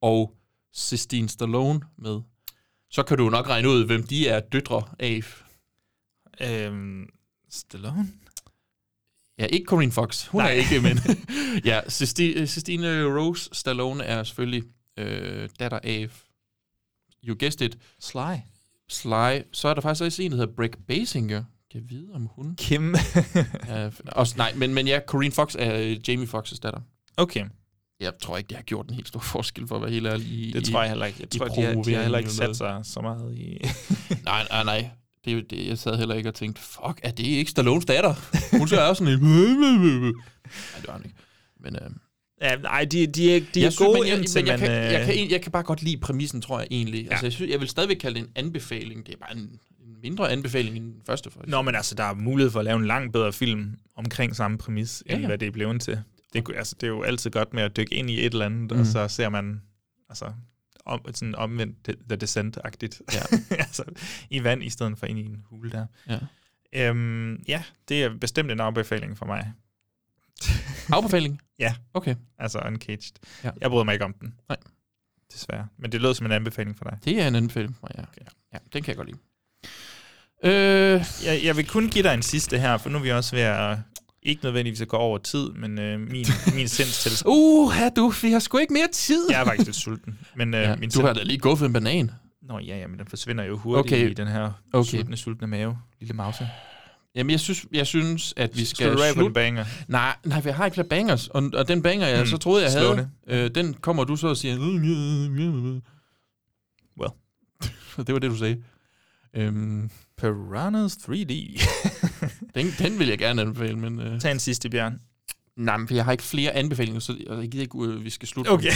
og Sistine Stallone med. Så kan du nok regne ud, hvem de er døtre af. Øhm, Stallone? Ja, ikke Corinne Fox. Hun Nej. Nej. er ikke, men... ja, Sisti- Sistine Rose Stallone er selvfølgelig øh, datter af... You guessed it. Sly. Sly. Så er der faktisk også en, der hedder Brick Basinger. Kan jeg vide, om hun... Kim. er, også, nej, men, men ja, Corinne Fox er øh, Jamie Foxes datter. okay, Jeg tror ikke, det har gjort en helt stor forskel, for at være helt ærlig. I, det i, tror jeg heller ikke. Jeg i tror, de har, de har promoveringen heller ikke eller sat sig så meget i... Nej, nej, nej. Det, er jo det, jeg sad heller ikke og tænkte, fuck, er det ikke Stallones datter? Hun ser også sådan en... nej, det var hun ikke. Men, øh, Ja, nej, de, de er, de jeg er synes, gode men jeg, indtil men jeg, man... kan, øh, jeg, kan, egentlig- jeg kan bare godt lide præmissen, tror jeg egentlig. Ja. Altså, jeg, synes, jeg vil stadigvæk kalde det en anbefaling. Det er bare en, en mindre anbefaling end den første. For Nå, men altså, der er mulighed for at lave en langt bedre film omkring samme præmis, end Ja, ja. hvad det er blevet til. Det, kunne- altså, det er jo altid godt med at dykke ind i et eller andet, Mhm. mm. og så ser man altså, om, sådan omvendt The- The Descent-agtigt. Ja. altså, I vand i stedet for ind i en hule der. Ja. Øhm, ja, det er bestemt en anbefaling for mig. Afbefaling? Ja. Okay. Altså Uncaged. Ja. Ja. Jeg bryder mig ikke om den. Nej. Desværre. Men det lød som en anbefaling for dig. Det er en anbefaling for mig, ja. Okay. ja. den kan jeg godt lide. Øh, Jeg, jeg vil kun give dig en sidste her, for nu er vi også ved at... Ikke nødvendigvis at gå over tid, men øh, min, min sindstilstand uh, du, vi har sgu ikke mere tid. Jeg er faktisk lidt sulten. Men øh, Ja, min du selv... har da lige guffet en banan. Nå ja, ja, men den forsvinder jo hurtigt Okay. okay. i den her Okay. okay. sultne, sultne mave. Lille mause. Jamen, jeg synes, jeg synes at vi skal, Skal du rappe på slutte- den banger? Nej, nej, jeg har ikke flere bangers, og, og den banger, jeg Hmm, så troede, jeg havde, slående. øh, den kommer du så og siger... "Øh, Well. det var det, du sagde. Øhm, Piranhas 3D. den, den vil jeg gerne anbefale, men... Øh, Tag en sidste, Bjørn. nej, men for jeg har ikke flere anbefalinger, så jeg gider ikke, øh, vi skal slutte. Okay.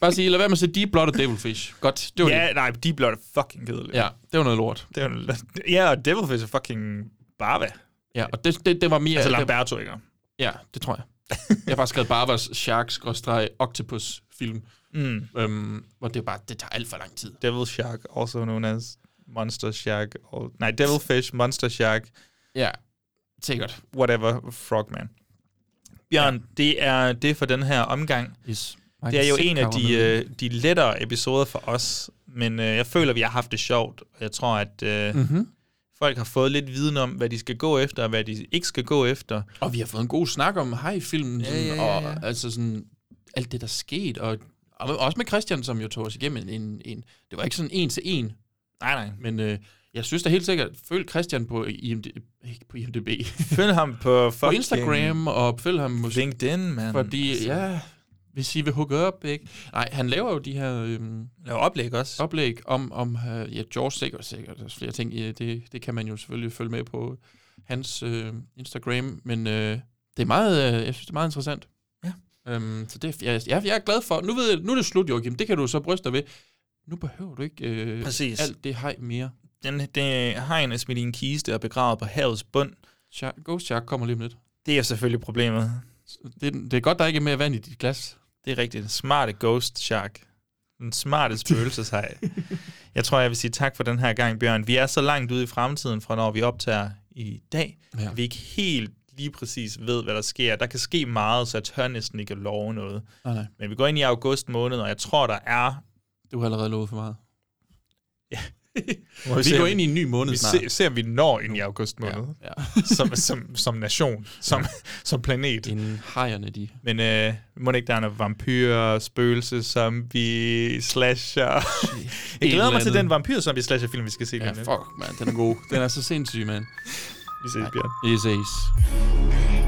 Bare sige, lad være med at se Deep Blood og Devilfish. Godt, det var det. ja, nej, de blot er fucking kedelige. Ja, det var noget lort. Det er jo en- ja, og Devilfish er fucking barba. Ja, og det, det, det var mere... altså det- Lamberto, ikke? Ja, det tror jeg. jeg har bare skrevet Barbers Shark-Octopus-film, Mm. øhm, hvor det er bare, det tager alt for lang tid. Devil Shark, also known as Monster Shark. Or, nej, Devilfish, Monster Shark, Ja, sikkert. whatever, Frogman. Bjørn, ja. det er det er for den her omgang. Yes. Det er jo en af de, øh, de lettere episoder for os, Men øh, jeg føler, at vi har haft det sjovt. Jeg tror, at øh, mm-hmm. folk har fået lidt viden om, hvad de skal gå efter, og hvad de ikke skal gå efter. Og vi har fået en god snak om hej-filmen, øh, ja, ja, ja, ja. og altså sådan, alt det, der skete, og, og også med Christian, som jo tog os igennem en, en det var ikke sådan en til en, Nej, nej. men øh, jeg synes da helt sikkert, følg Christian på IMD, ikke på IMDb, Følg ham på, på fucking Instagram, og følg ham måske, LinkedIn, mand. Altså, fordi, ja, hvis I vil hooke op, ikke? Nej, han laver jo de her... Øhm, Lav oplæg også. oplæg om, om øh, ja, George sikkert, sikkert der er flere ting. Ja, det, det kan man jo selvfølgelig følge med på hans øh, Instagram, men øh, det er meget, øh, jeg synes, det er meget interessant. Ja. Øhm, så det, jeg, jeg, jeg er glad for, nu, ved, jeg- nu er det slut, Joachim, det kan du så bryste dig ved. Nu behøver du ikke øh, Præcis. alt det hej mere. Den, den hegn er smidt i en kiste og begravet på havets bund. Shark, Ghost Shark kommer lige om lidt. Det er selvfølgelig problemet. Det, det er godt, der ikke er mere vand i dit glas. Det er rigtigt. Smarte ghost shark. Den smarte spøgelseshaj. jeg tror, jeg vil sige tak for den her gang, Bjørn. Vi er så langt ude i fremtiden fra, når vi optager i dag, Ja. ja. vi ikke helt lige præcis ved, hvad der sker. Der kan ske meget, så jeg tør næsten ikke at love noget. Nej, nej, Men vi går ind i august måned, og jeg tror, der er... du har allerede lovet for meget. Må Vi se, går om- ind i en ny måned vi snart. ser, ser, om vi når ind i august måned. Ja. Ja. som, som, som nation, som, som planet. Inden hejerne, de... Men øh, må det ikke, der er noget vampyrer, spøgelse, zombie, slasher. Jeg eller glæder mig til andet. den vampyr zombie slasher film, vi skal se Ja, lige om lidt. fuck, man, den er god. Den er så sindssyg, mand. Vi ses, Bjørn. Vi ses.